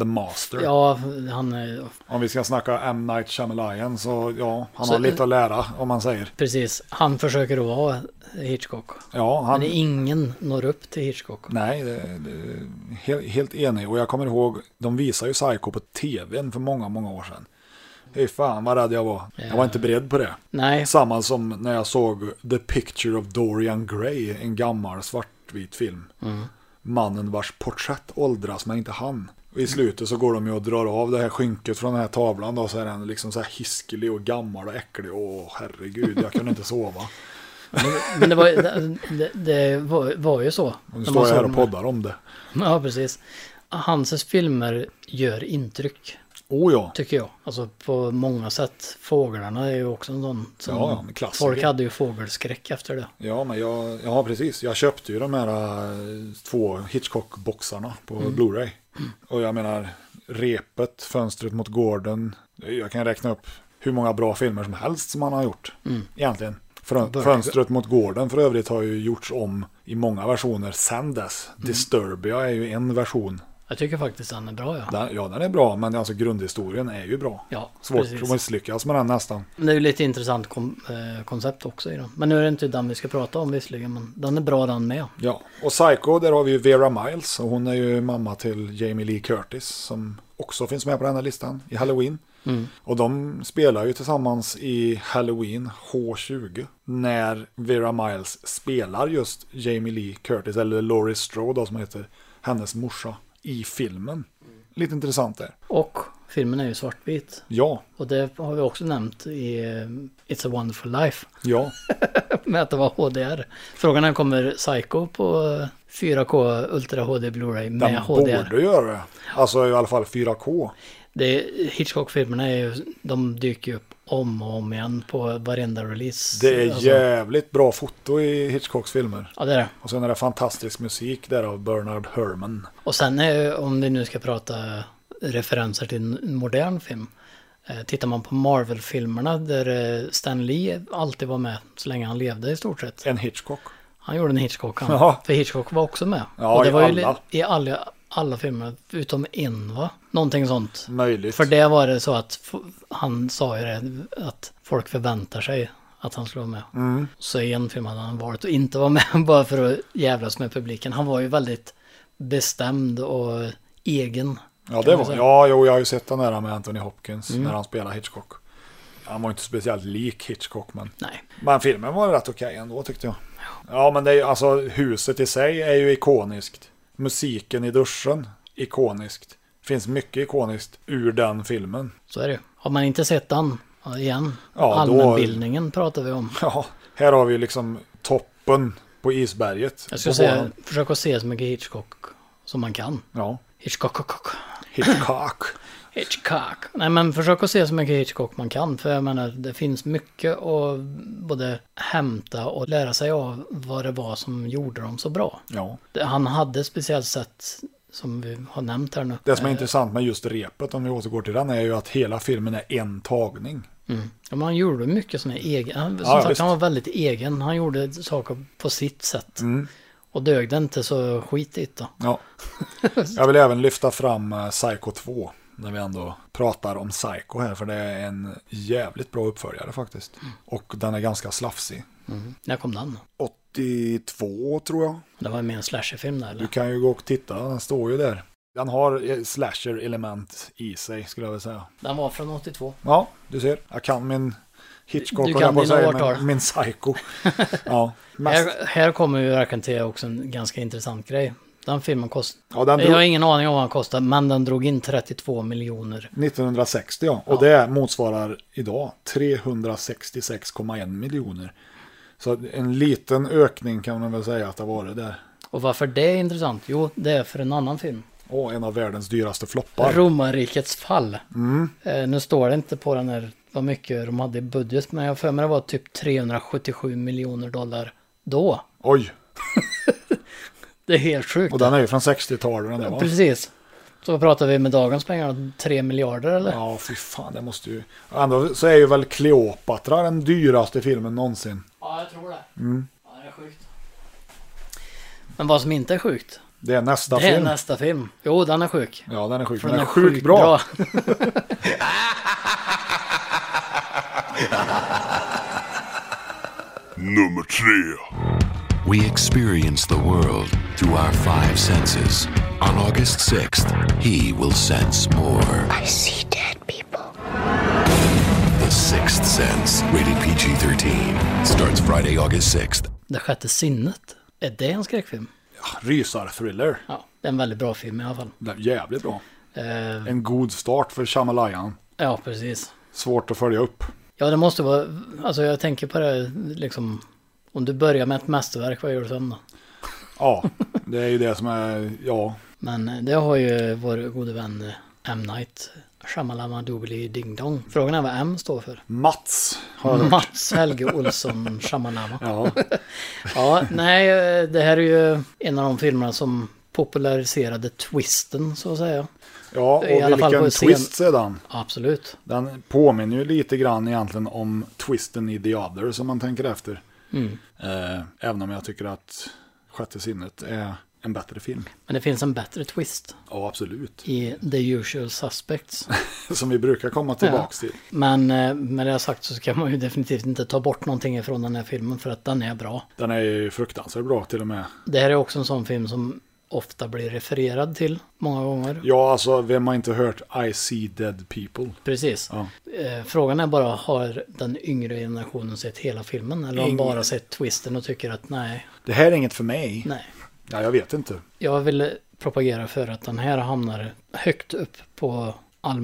C: The Master.
D: Ja, han är...
C: Om vi ska snacka M. Night Shyamalan så ja, han
D: Så- eh,
C: har lite att lära om man säger.
D: Precis, han försöker att vara Hitchcock.
C: Ja, han-
D: Men ingen når upp till Hitchcock.
C: Nej, det, det, helt, helt enig. Och jag kommer ihåg, de visade ju Psycho på tvn för många, många år sedan. Fy fan vad rädd jag var. Jag var inte beredd på det.
D: Nej.
C: Samma som när jag såg The Picture of Dorian Gray, en gammal svartvit film.
D: Mm.
C: Mannen vars porträtt åldras, men inte han. Och I slutet så går de ju och drar av det här skynket från den här tavlan då, så är den liksom så här hiskelig och gammal och äcklig. Åh, herregud, jag kunde inte sova.
D: Men det var, det, det var, var ju så.
C: Och nu
D: När
C: står
D: man
C: jag
D: såg
C: här
D: dem.
C: och poddar om det.
D: Ja, precis. Hans filmer gör intryck.
C: Oh ja.
D: Tycker jag. Alltså på många sätt. Fåglarna är ju också en sån. som-
C: Ja, en klassiker.
D: folk hade ju fågelskräck efter det.
C: Ja, men jag, ja, precis. Jag köpte ju de här eh, två Hitchcock-boxarna på
D: Mm.
C: Blu-ray. Och jag menar, repet, fönstret mot gården. Jag kan räkna upp hur många bra filmer som helst som han har gjort.
D: Mm.
C: Egentligen. Frö-
D: Börjar-
C: Fönstret mot gården för övrigt har ju gjorts om i många versioner sen dess.
D: Mm.
C: Disturbia är ju en version.
D: Jag tycker faktiskt han är bra ja.
C: Den, ja, den är bra, men alltså grundhistorien är ju bra.
D: Ja,
C: Svårt
D: precis.
C: att misslyckas med den nästan.
D: Men Det är ju lite intressant kom, eh, koncept också i den. Men nu är det inte den vi ska prata om visserligen. Men den är bra den med.
C: Ja, och Psycho, där har vi ju Vera Miles. Och hon är ju mamma till Jamie Lee Curtis som också finns med på den här listan i Halloween.
D: Mm.
C: Och de spelar ju tillsammans i Halloween H20. När Vera Miles spelar just Jamie Lee Curtis, eller Laurie Strode då, som heter hennes morsa, i filmen.
D: Mm.
C: Lite intressant där.
D: Och filmen är ju svartvit.
C: Ja,
D: Och det har vi också nämnt i eh, It's a wonderful life.
C: ja.
D: med att det var HDR. Frågan är, kommer Psycho på eh, 4K Ultra HD Blu-ray med
C: Den
D: HDR?
C: borde göra det. Alltså i alla fall 4K.
D: Det, Hitchcock-filmerna är ju, de dyker ju upp om och om igen på varenda release.
C: Det är
D: Alltså,
C: jävligt bra foto i Hitchcocks filmer.
D: Ja, det är det.
C: Och sen är det fantastisk musik där av Bernard Herrmann.
D: Och sen är, om vi nu ska prata referenser till en modern film. eh, Tittar man på Marvel-filmerna där eh, Stan Lee alltid var med så länge han levde i stort sett.
C: En Hitchcock.
D: Han gjorde en Hitchcock han.
C: Ja.
D: För Hitchcock var också med.
C: Ja,
D: Och det
C: i
D: var ju
C: alla.
D: li- I alla, alla filmer, utom en va? Någonting sånt.
C: Möjligt.
D: För det var det så att f- han sa ju det, att folk förväntar sig att han skulle vara med.
C: Mm.
D: Så i en film hade han varit och inte var med bara för att jävlas med publiken. Han var ju väldigt bestämd och egen.
C: Ja,
D: kan
C: det
D: man
C: var,
D: säga.
C: ja jo, jag har ju sett den där med Anthony Hopkins
D: Mm.
C: när han spelar Hitchcock. Han var inte speciellt lik Hitchcock, men,
D: Nej.
C: men filmen var rätt okej ändå tyckte jag. Ja, men det är, ju- alltså, huset i sig är ju ikoniskt. Musiken i duschen, ikoniskt. finns mycket ikoniskt ur den filmen.
D: Så är det ju. Har man inte sett den ja, igen,
C: Ja, då-
D: allmänbildningen pratar vi om.
C: Ja, här har vi liksom toppen på isberget.
D: Jag skulle
C: På
D: säga,
C: våran-
D: försök att se så mycket Hitchcock som man kan.
C: Ja.
D: Hitchcock.
C: Hitchcock.
D: Hitchcock. Nej men försök att se så mycket Hitchcock man kan. För jag menar, det finns mycket att både hämta och lära sig av vad det var som gjorde dem så bra.
C: Ja.
D: Det- Han hade ett speciellt sätt som vi har nämnt här nu.
C: Det som är
D: Eh,
C: intressant med just repet, om vi återgår till den, är ju att hela filmen är en tagning.
D: Mm. Ja, men han gjorde mycket sån här egen. Han, som
C: Ja,
D: sagt,
C: visst.
D: han var väldigt egen. Han gjorde saker på sitt sätt.
C: Mm.
D: Och dög det inte så skit i det då.
C: Ja. Jag vill även lyfta fram eh, Psycho 2, när vi ändå pratar om Psycho här, för det är en jävligt bra uppföljare faktiskt.
D: Mm.
C: Och den är ganska slafsig.
D: När kom den?
C: 82 tror jag.
D: Det var mer en slasherfilm där
C: Du
D: eller?
C: kan ju gå och titta, den står ju där. Den har eh, slasher-element i sig, skulle jag vilja säga.
D: Den var från 82.
C: Ja, du ser. Jag kan min Hitchcock,
D: Du
C: höll jag
D: kan
C: på att
D: dina
C: säga,
D: årtal.
C: men min Psycho. ja, mest.
D: Här, här kommer ju verkligen till också en ganska intressant grej. Den filmen kostade...
C: Ja, den
D: Jag har
C: drog-
D: ingen aning om vad den kostade, men den drog in 32 miljoner.
C: 1960 ja, och det motsvarar idag 366,1 miljoner. Så en liten ökning kan man väl säga att det var det där.
D: Och varför det är intressant? Jo, det är för en annan film.
C: Och en av världens dyraste floppar.
D: Romarrikets fall.
C: Mm.
D: Eh, nu står det inte på den här vad mycket de hade i budget, men jag har för mig det var typ 377 miljoner dollar då.
C: Oj,
D: Det är helt sjukt.
C: och den är ju från 60-talet den där va?
D: Precis. Så vad pratar vi med dagens pengar? 3 miljarder eller?
C: Ja, fy fan, det måste ju... Ändå så är ju väl Cleopatra den dyraste filmen någonsin.
D: Ja, jag tror det.
C: Mm.
D: Ja, det är sjukt. Men vad som inte är sjukt,
C: Det är nästa
D: det är
C: film.
D: nästa film. Jo, den är sjuk.
C: Ja, den är sjuk.
D: För
C: Den, är, sjukt bra.
E: Nummer tre.
J: We experience the world through our five senses. On August 6th, he will sense more. I see dead people. The Sixth Sense, rated PG 13, starts Friday, August 6th.
D: Det sjätte sinnet. Är det en skräckfilm?
C: Rysar-thriller.
D: Ja, det är en väldigt bra film i alla fall.
C: Den är Jävligt bra.
D: Eh,
C: En god start för Shamalayan.
D: ja, precis.
C: Svårt att följa upp.
D: Ja, det måste vara, alltså jag tänker på det här, liksom, om du börjar med ett mästerverk, vad gör du sen då?
C: Ja, det är ju det som är, ja.
D: Men eh, det har ju vår gode vän eh, M. Night, Shamalama Doobly Ding Dong. Frågan är vad M står för.
C: Mats har jag hört.
D: Mats Helge Olsson Shamalama.
C: Ja.
D: ja, nej, eh, det här är ju en av de filmerna som populariserade twisten så att säga.
C: Ja, och
D: I alla fall
C: vilken
D: på scen-
C: twist sedan.
D: Absolut.
C: Den påminner ju lite grann egentligen om twisten i The Other som man tänker efter.
D: Mm.
C: Eh, även om jag tycker att Sjätte sinnet är en bättre film.
D: Men det finns en bättre twist
C: Ja, absolut.
D: i The Usual Suspects.
C: Som vi brukar komma tillbaks till.
D: Men eh, med det sagt så ska man ju definitivt inte ta bort någonting ifrån den här filmen för att den är bra.
C: Den är ju fruktansvärt bra till och med.
D: Det här är också en sån film som ofta blir refererad till många gånger.
C: Ja, alltså vem har inte hört I see dead people?
D: Precis.
C: Ja.
D: Eh, Frågan är bara, har den yngre generationen sett hela filmen? Eller har de
C: Ingen.
D: bara sett twisten och tycker att nej,
C: Det här är inget för mig.
D: nej.
C: Ja, jag vet inte.
D: Jag vill propagera för att den här hamnar högt upp på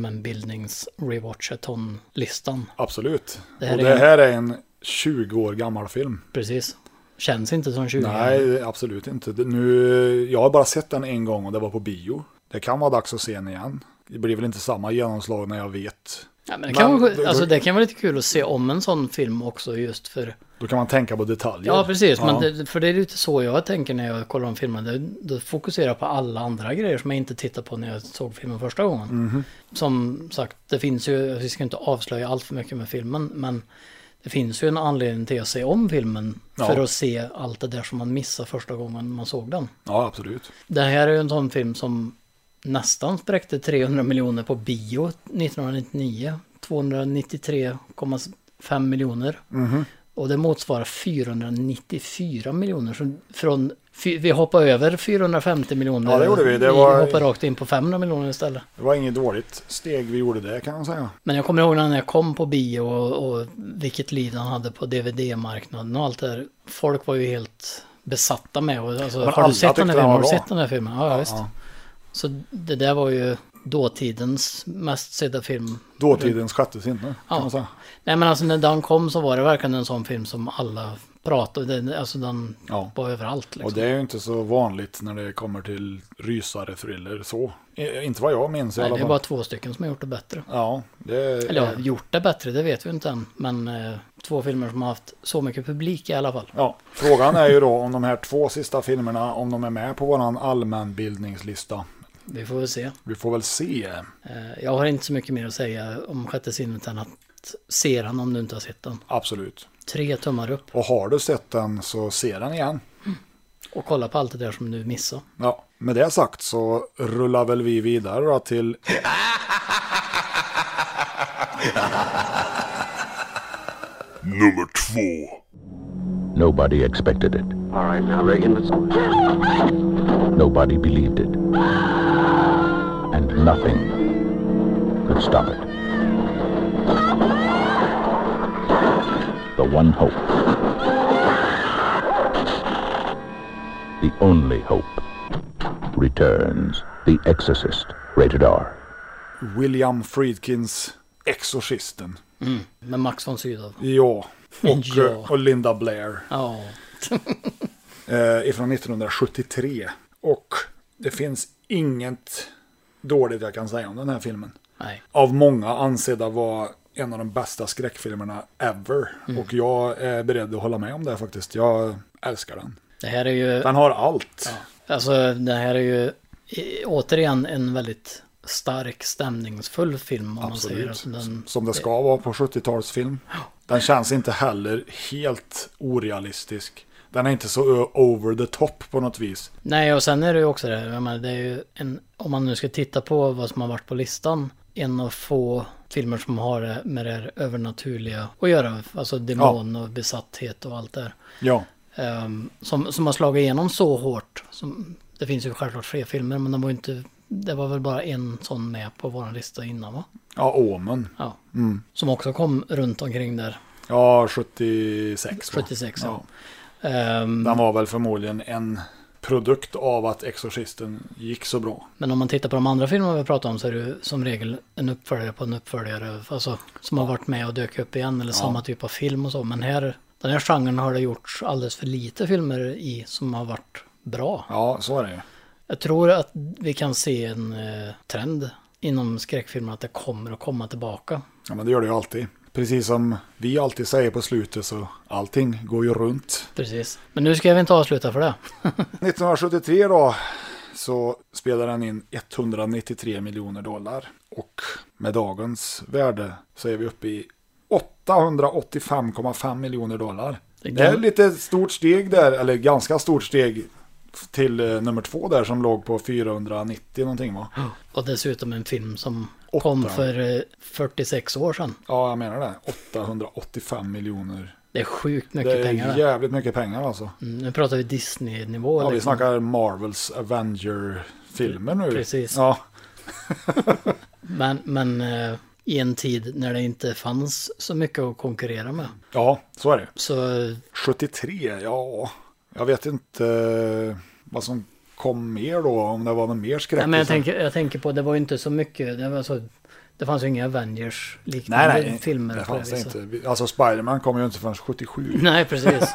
D: allmänbildnings rewatchathon listan
C: Absolut.
D: Det här
C: och
D: är
C: det
D: en-
C: här är en 20 år gammal film.
D: Precis. Känns inte som 20
C: Nej, absolut inte. Det- Nu, jag har bara sett den en gång och det var på bio. Det kan vara dags att se den igen. Det blir väl inte samma genomslag när jag vet.
D: Ja, men det, kan vara,
C: då-
D: alltså, det kan vara lite kul att se om en sån film också just för...
C: Då kan man tänka på detaljer.
D: Ja, precis. Men det, för det är lite så jag tänker när jag kollar om filmen. Det, då fokuserar jag på alla andra grejer som jag inte tittar på när jag såg filmen första gången.
C: Mhm.
D: Som sagt, det finns ju, vi ska inte avslöja allt för mycket med filmen, men det finns ju en anledning till att se om filmen
C: Ja.
D: för att se allt det där som man missade första gången man såg den.
C: Ja, absolut.
D: Det här är ju en sån film som nästan spräckte 300 miljoner på bio 1999. 293,5 miljoner.
C: Mhm.
D: Och det motsvarar 494 miljoner. Så Från, fy- vi hoppar över 450 miljoner.
C: Ja, det gjorde vi. Det
D: vi
C: var-
D: hoppar rakt in på 500 miljoner istället.
C: Det var inget dåligt steg vi gjorde det kan man säga.
D: Men jag kommer ihåg när jag kom på bio och, och vilket liv den hade på DVD-marknaden och allt det där. Folk var ju helt besatta med och alltså,
C: Men
D: har
C: alla
D: du sett
C: tyckte
D: den här
C: den
D: filmen?
C: var
D: Har du
C: bra.
D: sett den här filmen? Ja, ja visst.
C: ja.
D: Så det där var ju dåtidens mest sedda film.
C: Dåtidens sjätte sinne, kan man säga.
D: Nej men alltså när den kom så var det verkligen en sån film som alla pratade den- Alltså den
C: Ja.
D: var överallt liksom.
C: Och det är ju inte så vanligt när det kommer till rysare, thriller, så. I, inte vad jag minns i
D: Nej,
C: alla
D: det är
C: fall.
D: bara Eh. två stycken som har gjort det bättre.
C: Ja, det
D: Eller ja, gjort det bättre, det vet vi inte än. Men eh, två filmer som har haft så mycket publik i alla fall.
C: Ja, frågan är ju då om de här två sista filmerna, om de är med på våran allmänbildningslista.
D: Vi får väl se.
C: Vi får väl se.
D: Eh, Jag har inte så mycket mer att säga om Sjätte sinnet än att se den om du inte har sett den.
C: Absolut.
D: Tre tummar upp
C: Och har du sett den så se den igen.
D: och kolla på allt det där som du missade.
C: Ja, med det sagt så rullar väl vi vidare då till...
E: Nummer två.
L: Nobody expected it.
F: All right, now, Reagan, let's.
L: Nobody believed it. And nothing could stop it. The one hope. The only hope returns. The Exorcist. Rated R.
C: William Friedkins Exorcisten.
D: Med Max von Sydow.
C: Ja, och,
D: Ja.
C: och Linda Blair.
D: Ja.
C: eh, ifrån 1973. Och det finns inget dåligt jag kan säga om den här filmen.
D: Nej.
C: Av många ansedda vara en av de bästa skräckfilmerna ever.
D: Mm.
C: Och jag är beredd att hålla med om det faktiskt. Jag älskar den.
D: Det här är ju...
C: Den har allt.
D: Alltså det här är ju i- återigen en väldigt stark stämningsfull film om
C: Absolut.
D: man säger. Alltså, den,
C: Som det ska vara på 70-talsfilm. Den känns inte heller helt orealistisk. Den är inte så ö- over the top på något vis.
D: Nej och sen är det ju också det här, jag menar, det är ju en, om man nu ska titta på vad som har varit på listan, en av få filmer som har det med det här övernaturliga att göra, alltså demon och besatthet och allt det här.
C: Ja.
D: Ehm, som, som har slagit igenom så hårt. Som, det finns ju självklart fler filmer men de var ju inte, det var väl bara en sån med på vår lista innan va?
C: Ja, Omen.
D: Ja.
C: Mm.
D: Som också kom runt omkring där.
C: Ja, 76. va?
D: 76, ja. Ehm,
C: Den var väl förmodligen en produkt av att Exorcisten gick så bra.
D: Men om man tittar på de andra filmerna vi pratar om så är det ju som regel en uppföljare på en uppföljare. Alltså som har varit med och dök upp igen eller
C: Ja.
D: samma typ av film och så. Men här, den här genren har det gjorts alldeles för lite filmer i som har varit bra.
C: Ja, så är det ju.
D: Jag tror att vi kan se en eh, trend inom skräckfilmer att det kommer att komma tillbaka.
C: Ja, men det gör det ju alltid. Precis som vi alltid säger på slutet så allting går ju runt.
D: Precis. Men nu ska vi inte avsluta för det.
C: 1973 då så spelade den in 193 miljoner dollar. Och med dagens värde så är vi uppe i 885,5 miljoner dollar.
D: Det
C: Det är lite stort steg där, eller ganska stort steg till eh, nummer två där som låg på 490 någonting va?
D: Och dessutom en film som kom för eh, 46 år sedan.
C: Ja, jag menar det. 885 miljoner.
D: Det är sjukt mycket
C: det är
D: pengar. det.
C: jävligt mycket pengar alltså.
D: Mm, nu pratar vi Disney-nivå.
C: Ja, vi
D: liksom.
C: snackar Marvels Avenger-filmer nu.
D: Precis.
C: Ja,
D: Men, men eh, i en tid när det inte fanns så mycket att konkurrera med.
C: ja så är det.
D: Så eh,
C: 73, ja. Jag vet inte eh, vad som kom mer då, om det var någon mer skräck.
D: Nej, men jag, tänker, jag tänker på, det var ju inte så mycket. Det, var så, det fanns ju inga Avengers-liknande
C: nej, nej,
D: filmer. liksom.
C: det
D: på
C: fanns det
D: viset.
C: inte. Vi- Alltså Spiderman kom ju inte förrän 77.
D: Nej, precis.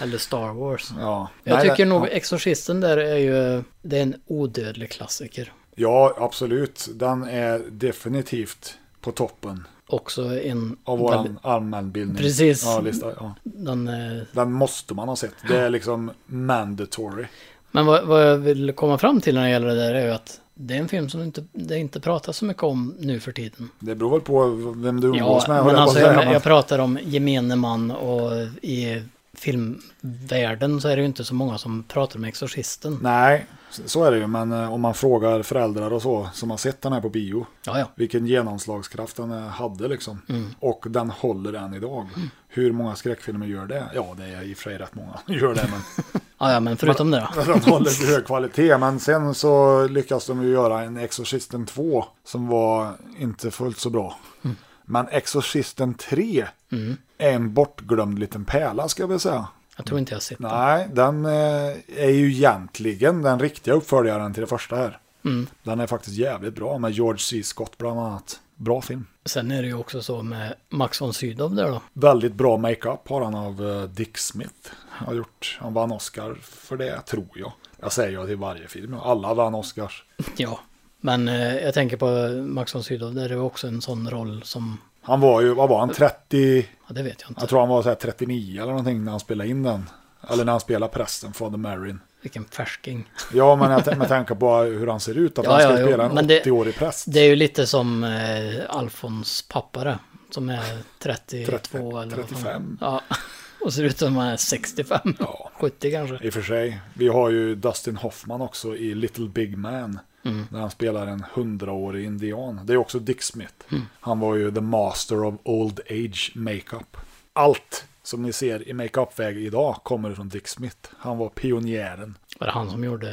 D: Eller Star Wars.
C: Ja.
D: Jag
C: Nej,
D: tycker
C: det-
D: nog
C: ja.
D: Exorcisten där är ju, det är en odödlig klassiker.
C: Ja, absolut. Den är definitivt på toppen
D: Också en...
C: av vår allmänbildning.
D: Precis.
C: Ja, lista, ja.
D: Den, eh,
C: Den måste man ha sett. Det är liksom mandatory.
D: men vad, vad jag vill komma fram till när det gäller det där är ju att det är en film som inte, det inte pratas så mycket om nu för tiden.
C: Det beror väl på vem du
D: Ja,
C: umgås med. höll
D: men
C: jag på
D: alltså
C: att säga,
D: jag,
C: men-
D: jag pratar om gemene man och i filmvärlden så är det ju inte så många som pratar om Exorcisten.
C: Nej, så- så är det ju. Men eh, om man frågar föräldrar och så som har sett den här på bio.
D: Ja, ja.
C: Vilken genomslagskraft den eh, hade liksom.
D: Mm.
C: Och den håller än idag. Hur många skräckfilmer gör det? Ja, det är i och för sig rätt många som gör det. Men
D: Ja, ja, men förutom det då.
C: de håller hög kvalitet. Men sen så lyckas de ju göra en Exorcisten 2 som var inte fullt så bra.
D: Mm.
C: Men Exorcisten 3
D: Mm.
C: är en bortglömd liten pärla ska jag väl säga.
D: Jag tror inte jag har sett den.
C: Nej, den eh, är ju egentligen den riktiga uppföljaren till det första här.
D: Mm.
C: Den är faktiskt jävligt bra med George C. Scott bland annat. Bra film.
D: Sen är det ju också så med Max von Sydow där då.
C: Väldigt bra makeup har han av eh, Dick Smith. Han, har gjort, han vann Oscar för det, tror jag. Jag säger jag till varje film. Alla vann Oscars.
D: Ja, men eh, jag tänker på Max von Sydow där det var också en sån roll som...
C: Han var ju, vad var han, 30?
D: Ja, det vet jag inte.
C: Jag tror han var så här 39 eller någonting när han spelade in den. Eller när han spelade prästen, Father Marin.
D: Vilken färsking.
C: Ja, men jag t- med tanke på hur han ser ut, att han ska
D: jo,
C: spela en
D: men det-
C: 80-årig präst.
D: Det är ju lite som eh, Alfons pappa där, som är 32 eller vad fan.
C: 35.
D: Ja, och ser ut som han är 65. 70 kanske.
C: I och för sig. Vi har ju Dustin Hoffman också i Little Big Man.
D: Mm.
C: Där han spelar en hundraårig indian. Det är också Dick Smith.
D: Mm.
C: Han var ju the master of old age makeup. Allt som ni ser i makeup-väg idag kommer från Dick Smith. Han var pionjären.
D: Var det han som gjorde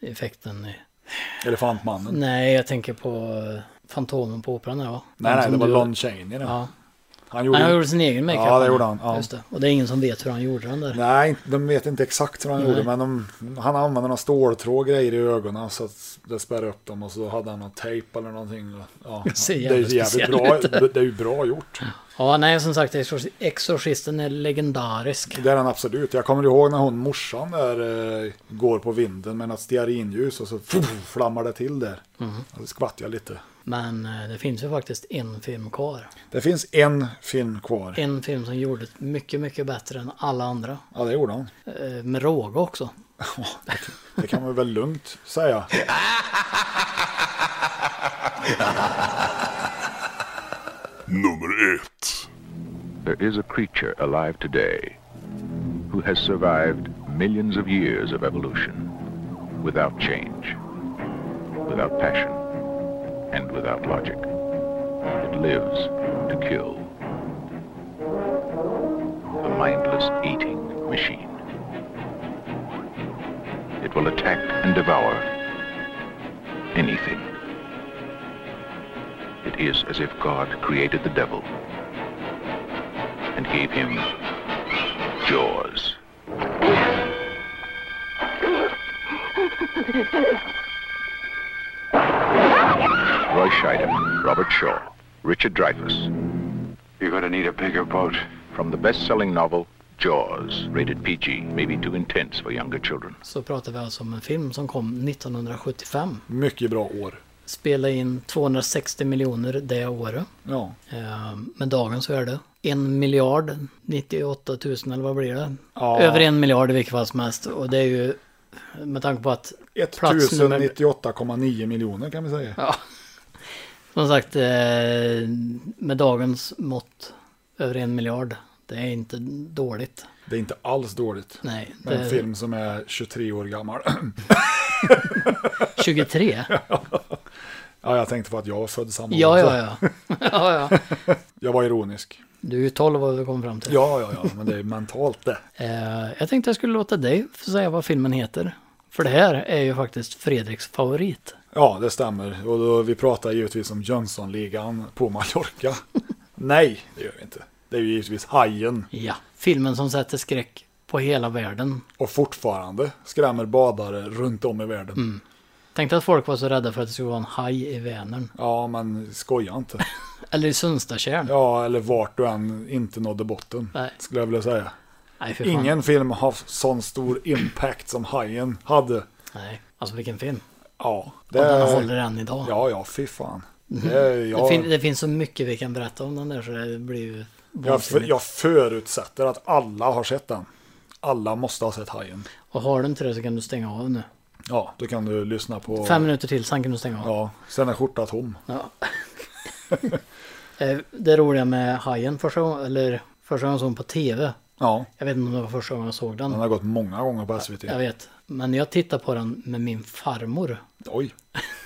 D: eh, effekten i...
C: Elefantmannen.
D: Nej, jag tänker på eh, Fantomen på Operan där va?
C: Nej,
D: Han
C: nej,
D: som
C: det var
D: du-
C: Lon Chaney. det.
D: Mm. Ja.
C: Han
D: Nej, han gjorde sin egen makeup.
C: Ja, det gjorde han. Ja.
D: Just det. Och det är ingen som vet hur han gjorde den där.
C: Nej, de vet inte exakt vad han
D: Nej.
C: gjorde, men de, han använde några ståltråd och grejer i ögonen så att det spärrade upp dem och så hade han någon tejp eller någonting. och- Ja,
D: Det ser
C: det är ju
D: jävligt
C: jävligt
D: speciellt
C: bra,
D: ut.
C: det det är ju bra gjort.
D: Ja, nej, som sagt, Exorci- Exorcisten är legendarisk.
C: Det är den absolut. Jag kommer ihåg när hon, morsan där, eh, går på vinden med något stearinljus och så fuff, flammar det till där.
D: Mhm.
C: Och så skvatt jag lite.
D: Men eh, det finns ju faktiskt en film kvar.
C: Det finns en film kvar.
D: En film som gjorde det mycket, mycket bättre än alla andra.
C: Ja, det gjorde han.
D: Eh, Med råge också.
C: Det kan man väl lugnt säga.
E: Nummer ett.
R: There is a creature alive today who has survived millions of years of evolution without change, without passion, and without logic. It lives to kill. A mindless eating machine. It will attack and devour anything. It is as if God created the devil and gave him jaws. Roy Scheider, Robert Shaw, Richard Dreyfuss. You're going to need a bigger boat. From the best-selling novel, Jaws, rated PG, maybe too intense for younger children.
D: Så pratar vi alltså om en film som kom 1975.
C: Mycket bra år.
D: Spelade in 260 miljoner det året.
C: Ja.
D: Eh, Med dagens värde. En miljard 98 000 eller vad blir det?
C: Ja.
D: Över en miljard i vilket fall som helst. Och det är ju med tanke på att... plats nummer-
C: 1098,9 miljoner kan vi säga.
D: Ja. Som sagt, eh, med dagens mått över en miljard. Det är inte dåligt.
C: Det är inte alls dåligt.
D: Nej,
C: Med
D: det-
C: En film som är 23 år gammal.
D: 23?
C: ja, jag tänkte på att jag var född samma
D: Ja,
C: år.
D: ja, ja. ja, ja.
C: jag var ironisk.
D: Du är ju 12 vad vi kom fram till.
C: Ja, ja, ja, men det är mentalt det.
D: Eh, jag tänkte jag skulle låta dig säga vad filmen heter. För det här är ju faktiskt Fredriks favorit.
C: Ja, det stämmer. Och då, vi pratar givetvis om Jönssonligan på Mallorca. Nej, det gör vi inte. Det är ju givetvis Hajen.
D: Ja, filmen som sätter skräck på hela världen.
C: Och fortfarande skrämmer badare runt om i världen.
D: Mm. Tänkte att folk var så rädda för att det skulle vara en haj i Vänern.
C: Ja, men skoja inte.
D: Eller i Sundstatjärn.
C: Ja, eller vart du än inte nådde botten.
D: Nej.
C: Skulle jag vilja säga.
D: Nej, för fan.
C: Ingen film har haft sån stor impact som Hajen hade.
D: Nej, alltså vilken film.
C: Ja.
D: Och den håller än idag.
C: Ja, ja, fy fan. Det,
D: Mhm. Det,
C: jag,
D: fin- det finns så mycket vi kan berätta om den där så det blir ju
C: jag, för,
D: vansinnigt.
C: jag förutsätter att alla har sett den. Alla måste ha sett Hajen.
D: Och har du inte det så kan du stänga av nu.
C: Ja, då kan du lyssna på...
D: Fem minuter till, sen kan du stänga av.
C: Ja, sen är skjortan tom.
D: Ja. Eh, det roliga med Hajen första gången, eller första gången jag såg den på tv.
C: Ja.
D: Jag vet inte om det var första gången jag såg den.
C: Den har gått många gånger på SVT.
D: Jag vet. Men jag tittade på den med min farmor.
C: Oj.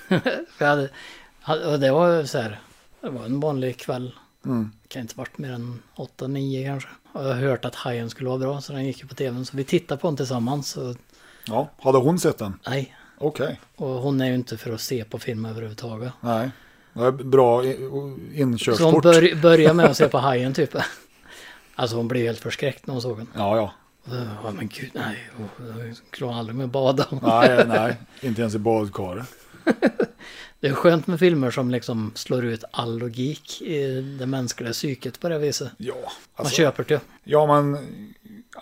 D: För jag hade, hade- och det var så här, det var en vanlig kväll.
C: Mm.
D: Kan inte varit mer än 8-9 kanske. Och jag har hört att Hajen skulle vara bra så den gick ju på tvn. Så vi tittade på den tillsammans. Och,
C: Ja, hade hon sett den?
D: nej.
C: Okej.
D: Och hon är ju inte för att se på film överhuvudtaget.
C: Nej. Det är bra i- inkörsport.
D: Så hon bör, börjar med att se på Hajen typ. Alltså hon blev helt förskräckt när hon såg den.
C: Ja, ja.
D: Och så, Ja men gud nej, oh, jag klarar aldrig med att bada.
C: Nej, nej. Inte ens i badkaret.
D: Det är skönt med filmer som liksom slår ut all logik i det mänskliga psyket på det viset.
C: Ja,
D: man
C: alltså-
D: köper det.
C: Ja, men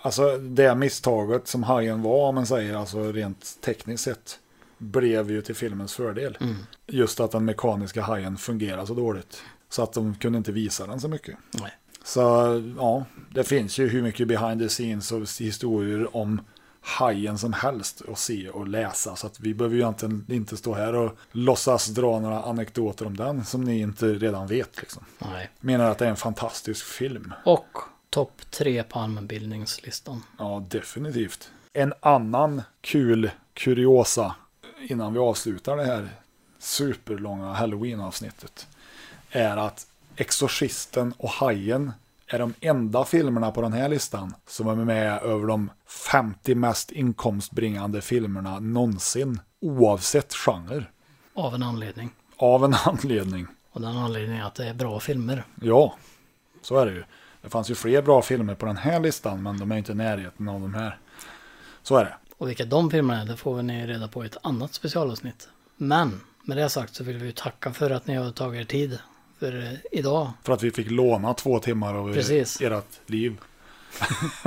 C: alltså det misstaget som Hajen var, om man säger, alltså rent tekniskt sett, blev ju till filmens fördel.
D: Mm.
C: Just att den mekaniska hajen fungerar så dåligt. Så att de kunde inte visa den så mycket.
D: Nej.
C: Så ja, det finns ju hur mycket behind the scenes och historier om hajen som helst att se och läsa. Så att vi behöver ju inte, inte stå här och låtsas dra några anekdoter om den som ni inte redan vet. Liksom.
D: Nej.
C: Menar att det är en fantastisk film.
D: Och topp tre på allmänbildningslistan.
C: Ja, definitivt. En annan kul kuriosa innan vi avslutar det här superlånga halloween-avsnittet är att Exorcisten och Hajen är de enda filmerna på den här listan som är med över de 50 mest inkomstbringande filmerna någonsin, oavsett genre.
D: Av en anledning.
C: Av en anledning.
D: Och den anledningen är att det är bra filmer.
C: Ja, så är det ju. Det fanns ju fler bra filmer på den här listan, men de är inte i närheten av de här. Så är det.
D: Och vilka de filmerna är, det får ni reda på i ett annat specialavsnitt. Men med det sagt så vill vi ju tacka för att ni har tagit er tid för eh, idag.
C: För att vi fick låna två timmar av
D: Precis.
C: ert liv.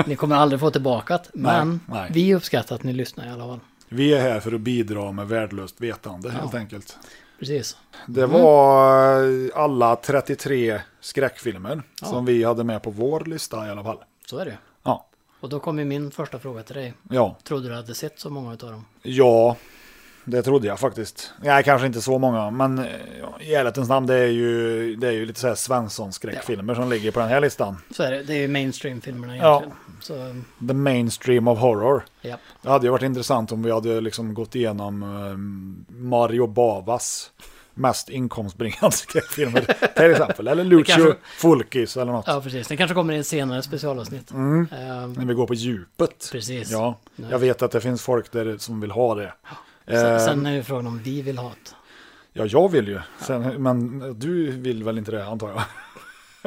D: Ni kommer aldrig få tillbaka det, men
C: Nej, nej.
D: vi uppskattar att ni lyssnar i alla fall.
C: Vi är här för att bidra med värdelöst vetande helt enkelt.
D: Precis.
C: Det
D: Mm.
C: var eh, alla 33 skräckfilmer
D: Ja.
C: som vi hade med på vår lista i alla fall.
D: Så är det.
C: Ja.
D: Och då kommer min första fråga till dig.
C: Ja,
D: Trodde du hade sett så många av dem?
C: ja det trodde jag faktiskt. Nej, kanske inte så många, men eh, ja, i ärlighetens namn, det är ju, det är ju lite så här Svensson-skräckfilmer som ligger på den här listan.
D: Så är det. Det är ju mainstream-filmerna
C: Ja.
D: egentligen. Så,
C: The mainstream of horror.
D: ja.
C: Det hade ju varit intressant om vi hade liksom gått igenom eh, Mario Bavas mest inkomstbringande skräckfilmer till exempel. Eller Lucio
D: kanske-
C: Fulkis eller något.
D: ja, precis. Det kanske kommer i ett senare specialavsnitt.
C: Mm.
D: Ehm,
C: När vi går på djupet.
D: Precis.
C: Ja,
D: Nej.
C: jag vet att det finns folk där som vill ha det. Eh,
D: sen, sen är ju frågan om vi vill ha det.
C: Ja, jag vill ju. Sen, men du vill väl inte det antar jag?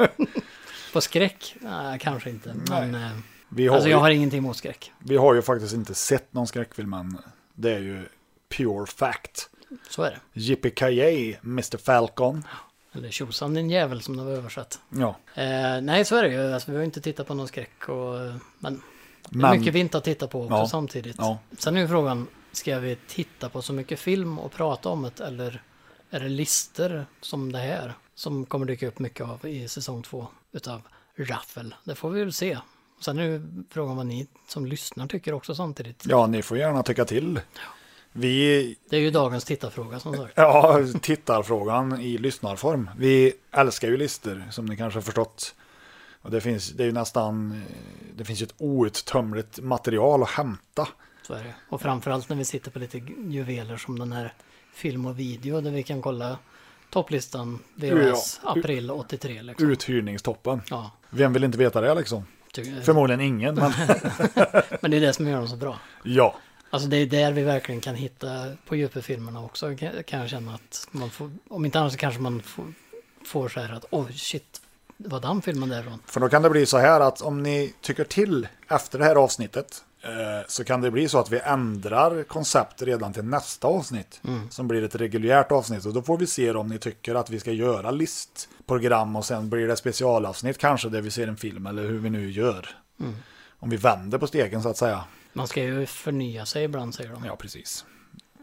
D: På skräck? Nej, kanske inte. Men, eh,
C: Vi har
D: alltså
C: ju-
D: jag har ingenting emot skräck.
C: Vi har ju faktiskt inte sett någon skräckfilm än. Det är ju pure fact.
D: Så är det.
C: Yippee-ki-yay, Mr. Falcon.
D: Eller tjosan din jävel som det var översatt.
C: Ja.
D: Eh, nej, så är det ju. Alltså, vi har ju inte tittat på någon skräck. Och, men det är
C: Men-
D: mycket vi inte har tittat på också
C: Ja.
D: samtidigt.
C: Ja.
D: Sen är ju frågan, ska vi titta på så mycket film och prata om det? Eller är det lister som det här? Som kommer dyka upp mycket av i säsong två utav Raffel. Det får vi väl se. Sen är ju frågan vad ni som lyssnar tycker också samtidigt.
C: Ja, ni får gärna tycka till. Vi
D: Det är ju dagens tittarfråga som sagt.
C: Ja, tittarfrågan i lyssnarform. Vi älskar ju listor som ni kanske har förstått. Och det finns, det är ju nästan, eh, det finns ju ett outtömligt material att hämta.
D: Så är det. Och framförallt när vi sitter på lite juveler som den här film och video där vi kan kolla topplistan VHS
C: Ja.
D: april 83 liksom.
C: Uthyrningstoppen.
D: Ja.
C: Vem vill inte veta det liksom?
D: Ty-
C: Förmodligen ingen, men
D: Men det är det som gör dem så bra.
C: ja.
D: Alltså det är där vi verkligen kan hitta på djupet-filmerna också kan kan jag känna att man får, om inte annars så kanske man får, får så här att oj shit, vad den filmen därifrån?
C: För då kan det bli så här att om ni tycker till efter det här avsnittet eh, så kan det bli så att vi ändrar koncept redan till nästa avsnitt som blir ett reguljärt avsnitt och då får vi se om ni tycker att vi ska göra listprogram och sen blir det specialavsnitt kanske där vi ser en film eller hur vi nu gör.
D: Mm.
C: Om vi vänder på stegen så att säga.
D: Man ska ju förnya sig ibland säger de.
C: Ja, precis.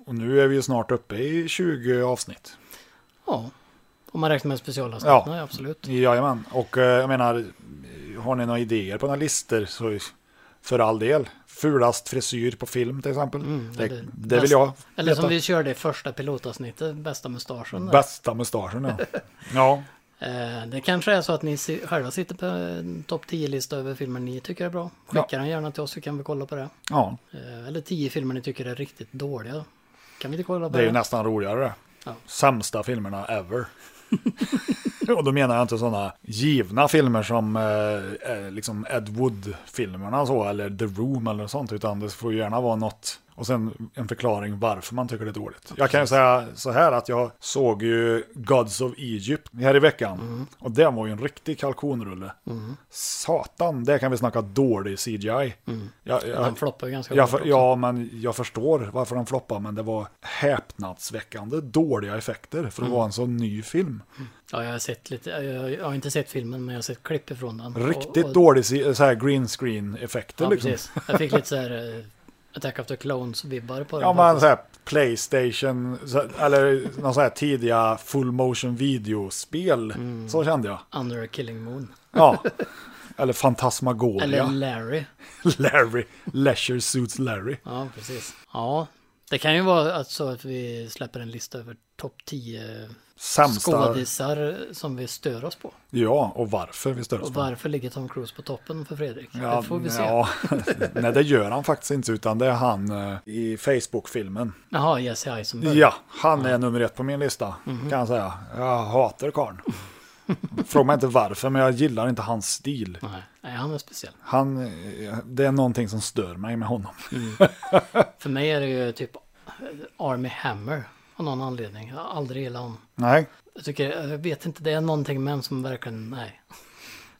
C: Och nu är vi ju snart uppe i 20 avsnitt.
D: Ja. Om man räknar med specialavsnitten,
C: Ja.
D: ja. absolut.
C: Jajamän, och eh, jag menar, har ni några idéer på några listor så för all del. Fulast frisyr på film till exempel. det,
D: Mm, Eller
C: det, vill
D: bäst-
C: jag
D: Eller som
C: veta.
D: vi körde i första pilotavsnittet, bästa mustaschen. där.
C: Bästa mustaschen ja. ja.
D: Eh, Det kanske är så att ni si- själva sitter på en topp 10-lista över filmer ni tycker är bra. Skicka den gärna till oss så kan vi kolla på det.
C: Ja,
D: Eh, Eller 10 filmer ni tycker är riktigt dåliga. Kan vi inte kolla på
C: det
D: det?
C: är ju nästan roligare det.
D: Ja.
C: Sämsta filmerna ever. och då menar jag inte sådana givna filmer som eh, eh, liksom Ed Wood-filmerna så, eller The Room eller sånt, utan det får ju gärna vara något. Och sen en förklaring varför man tycker det är dåligt. Jag kan ju säga så här att jag såg ju Gods of Egypt här i veckan. Och det var ju en riktig kalkonrulle.
D: Mm.
C: Satan, det kan vi snacka dålig CGI. Mm. Jag,
D: Den floppar ju ganska
C: jag,
D: hårt
C: för-
D: också.
C: Ja, men jag förstår varför den floppar. Men det var häpnadsväckande dåliga effekter för att
D: Mm.
C: vara en sån ny film.
D: Ja, jag har sett lite, jag, jag har inte sett filmen men jag har sett klipp ifrån den.
C: Riktigt dålig C- så här green screen effekter
D: Ja,
C: liksom.
D: precis. Jag fick lite så här eh, Attack of the Clones-vibbar på
C: Ja,
D: den.
C: men så här Playstation, så, eller någon så här tidiga full motion videospel.
D: Mm.
C: Så kände jag.
D: Under a Killing Moon.
C: Ja. Eller Fantasmagoria.
D: Eller Larry.
C: Larry. Leisure Suits Larry.
D: Ja, precis. Ja, det kan ju vara att så att vi släpper en lista över topp 10
C: Sämsta-
D: skådisar som vi stör oss på.
C: Ja, och varför vi stör oss
D: Och
C: på.
D: varför ligger Tom Cruise på toppen för Fredrik?
C: Ja,
D: det får vi se.
C: ja. Nej, det gör han faktiskt inte, utan det är han eh, i Facebook-filmen.
D: Jaha, Jesse Eisenberg.
C: Ja, han är nummer ett på min lista, kan jag säga. Jag hatar karln. Fråga mig inte varför, men jag gillar inte hans stil.
D: Nej, han är speciell.
C: Han, eh, det är någonting som stör mig med honom.
D: För mig är det ju typ Army Hammer av någon anledning. Jag har aldrig gillat honom.
C: Nej.
D: Jag tycker, jag vet inte, det är någonting med honom som verkligen, nej.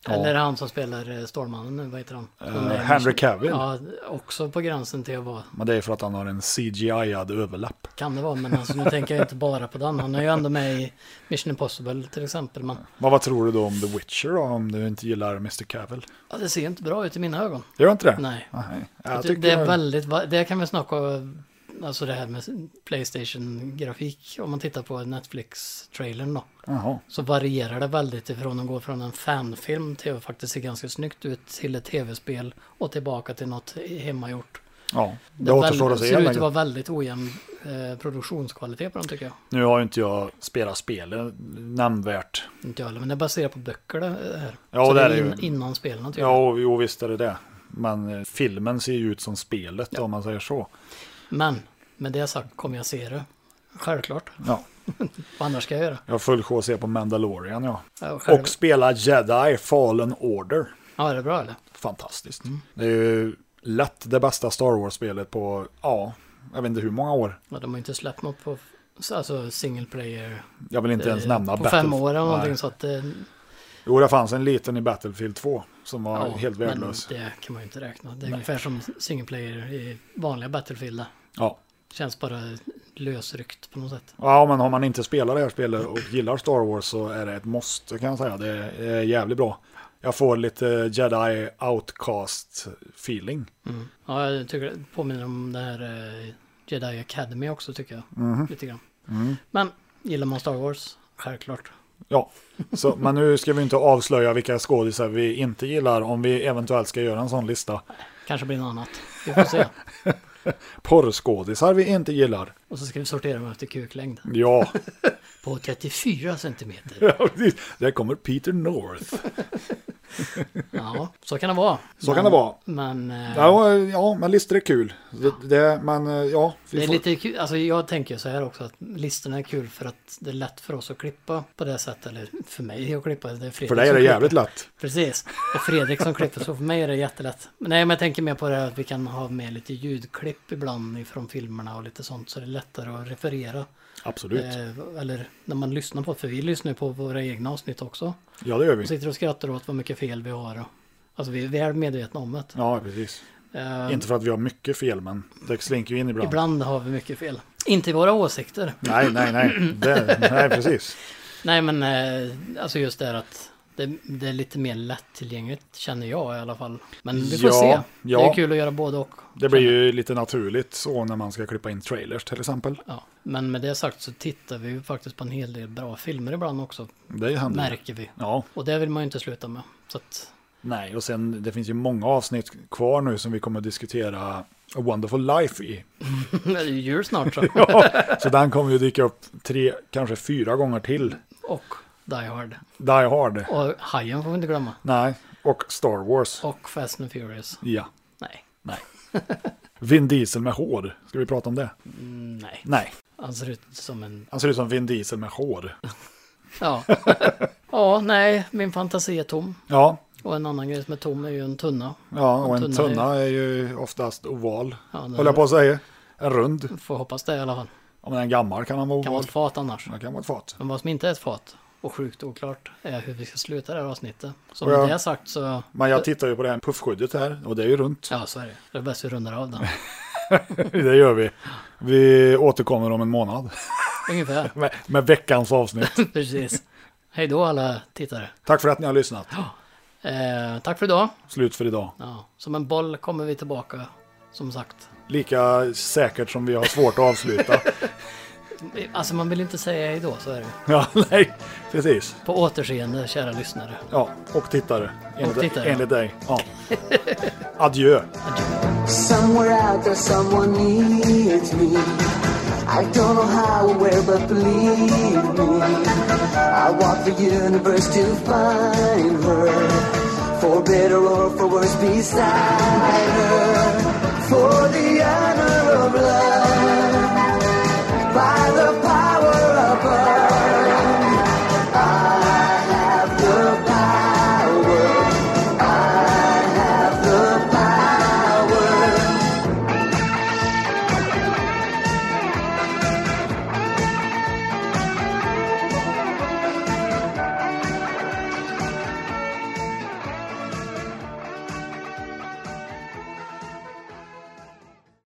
C: Ja.
D: Eller han som spelar eh, Stålmannen nu, vad heter han?
C: Eh,
D: Nej,
C: Henry Cavill.
D: Ja, också på gränsen till att vara,
C: Men det är för att han har en CGI-ad överlapp.
D: kan det vara, men alltså nu tänker jag inte bara på den. Han är ju ändå med i Mission Impossible till exempel, men
C: Men vad tror du då om The Witcher då, om du inte gillar Mr. Cavill?
D: ja, det ser ju inte bra ut i mina ögon.
C: Gör inte det?
D: Nej.
C: Jag
D: Det-
C: tycker-
D: det är väldigt, va- det kan vi snacka om, alltså det här med Playstation-grafik, om man tittar på Netflix-trailern då.
C: Jaha.
D: Så varierar det väldigt ifrån att gå från en fanfilm till att faktiskt se ganska snyggt ut till ett tv-spel och tillbaka till något hemmagjort.
C: Ja, det,
D: är
C: återstår att
D: väldigt-
C: se.
D: ser
C: helt
D: ut att
C: enkelt.
D: vara väldigt ojämn eh, produktionskvalitet på dem tycker jag.
C: Nu har ju inte jag spelat spelet nämnvärt.
D: Inte jag heller, men det är baserat på böcker det här.
C: Ja,
D: Så
C: det är
D: är
C: det ju.
D: in, innan spelen tydligen.
C: Ja, jo visst är det det. Men eh, filmen ser ju ut som spelet om man säger så.
D: Men med det sagt kommer jag se det. Självklart.
C: Ja.
D: Vad annars ska jag göra?
C: Jag har full sjå att se på Mandalorian ja.
D: Ja, och själv-
C: och spela Jedi Fallen Order.
D: Ja, är det bra eller?
C: Fantastiskt.
D: Mm.
C: Det är ju lätt det bästa Star Wars-spelet på, ja, jag vet inte hur många år.
D: Ja, de har ju inte släppt något på alltså single player.
C: Jag vill inte ens nämna
D: Eh, På
C: Battle-
D: fem år eller någonting
C: Nej.
D: så att eh, det,
C: Jo, det fanns en liten i Battlefield 2 som var helt värdelös.
D: Men det kan man ju inte räkna. Det är
C: Nej.
D: ungefär som single player i vanliga Battlefield.
C: Ja.
D: Känns bara lösryckt på något sätt.
C: Ja, men har man inte spelat det här spelet och gillar Star Wars så är det ett måste kan jag säga. Det är jävligt bra. Jag får lite Jedi Outcast-feeling.
D: Ja, jag tycker det påminner om det här eh, Jedi Academy också tycker jag.
C: Mhm.
D: Lite grann.
C: Mm.
D: Men gillar man Star Wars? Självklart.
C: Ja, så, men nu ska vi inte avslöja vilka skådisar vi inte gillar om vi eventuellt ska göra en sån lista.
D: Kanske blir något annat. Vi får se.
C: Porrskådisar vi inte gillar.
D: Och så ska vi sortera dem efter kuklängd.
C: Ja,
D: På 34 centimeter.
C: Ja, precis. där kommer Peter North.
D: Ja, så kan det vara.
C: Så kan
D: Men-
C: det vara.
D: Men... eh,
C: Ja, ja men listor är kul. Det, det, men eh, ja, vi
D: Det är
C: får-
D: lite kul, alltså jag tänker så här också att listorna är kul för att det är lätt för oss att klippa på det sättet, eller för mig att klippa. Det är Fredrik
C: för dig är
D: som
C: det jävligt
D: klipper.
C: lätt.
D: Precis, och Fredrik som klipper, så för mig är det jättelätt. Men nej, men jag tänker mer på det här att vi kan ha med lite ljudklipp ibland från filmerna och lite sånt så det är lättare att referera.
C: Absolut.
D: Eh, eller när man lyssnar på, för vi lyssnar ju på våra egna avsnitt också.
C: Ja, det gör vi.
D: Och sitter och skrattar åt vad mycket fel vi har. och- Alltså vi är väl medvetna om det.
C: Ja, precis.
D: Eh,
C: Inte för att vi har mycket fel, men det slinker ju in ibland.
D: Ibland har vi mycket fel. Inte i våra åsikter.
C: Nej, nej, nej. Det, nej, precis.
D: Nej, men eh, alltså just det här att det, det är lite mer lättillgängligt känner jag i alla fall. Men vi får
C: Ja,
D: se. Det
C: ja.
D: är kul att göra både och.
C: Det blir ju lite naturligt så när man ska klippa in trailers till exempel.
D: Ja. Men med det sagt så tittar vi ju faktiskt på en hel del bra filmer ibland också.
C: Det händer.
D: Märker vi.
C: Ja.
D: Och det vill man ju inte sluta med. Så att,
C: Nej, och sen det finns ju många avsnitt kvar nu som vi kommer att diskutera A Wonderful Life i.
D: det är ju jul snart så.
C: Ja, så den kommer ju dyka upp tre, kanske fyra gånger till.
D: Och Die Hard.
C: Die Hard.
D: Och Hajen får vi inte glömma.
C: Nej, och Star Wars.
D: Och Fast and Furious.
C: Ja.
D: Nej.
C: Nej. Vin Diesel med hår. Ska vi prata om det?
D: Mm, Nej.
C: Nej.
D: Han ser ut som en...
C: Han ser ut som Vin Diesel med hår.
D: Ja. ja, nej, min fantasi är tom.
C: Ja,
D: Och en annan grej som är tom är ju en tunna.
C: ja och en
D: är ju-
C: tunna är ju oftast oval.
D: Ja, den-
C: Håller jag på att säga. En rund.
D: Får hoppas det i alla fall.
C: Om den är gammal kan han vara
D: Kan vara ett fat annars.
C: Det kan vara ett fat.
D: Men vad som inte är ett fat och sjukt oklart är hur vi ska sluta det här avsnittet. Så
C: Och
D: med
C: jag-
D: det sagt så...
C: Men jag tittar ju på det här puffskyddet här och det är ju runt.
D: Ja, så är det. Det är bäst vi rundar av den.
C: det gör vi. Vi återkommer om en månad
D: Ungefär.
C: med, med veckans avsnitt.
D: Precis. Hej då alla tittare.
C: Tack för att ni har lyssnat.
D: Eh, tack för idag.
C: Slut för idag.
D: Ja, som en boll kommer vi tillbaka, som sagt.
C: Lika säkert som vi har svårt att avsluta.
D: Alltså man vill inte säga hej då, så är det.
C: ja, nej, precis.
D: På återseende, kära lyssnare.
C: Ja, och tittare. Enligt,
D: tittare, ja.
C: enligt dig. Ja. Adjö.
N: Somewhere out there, someone needs me. I don't know how or where, but believe me. I walk the universe to find her. For better or for worse, beside her.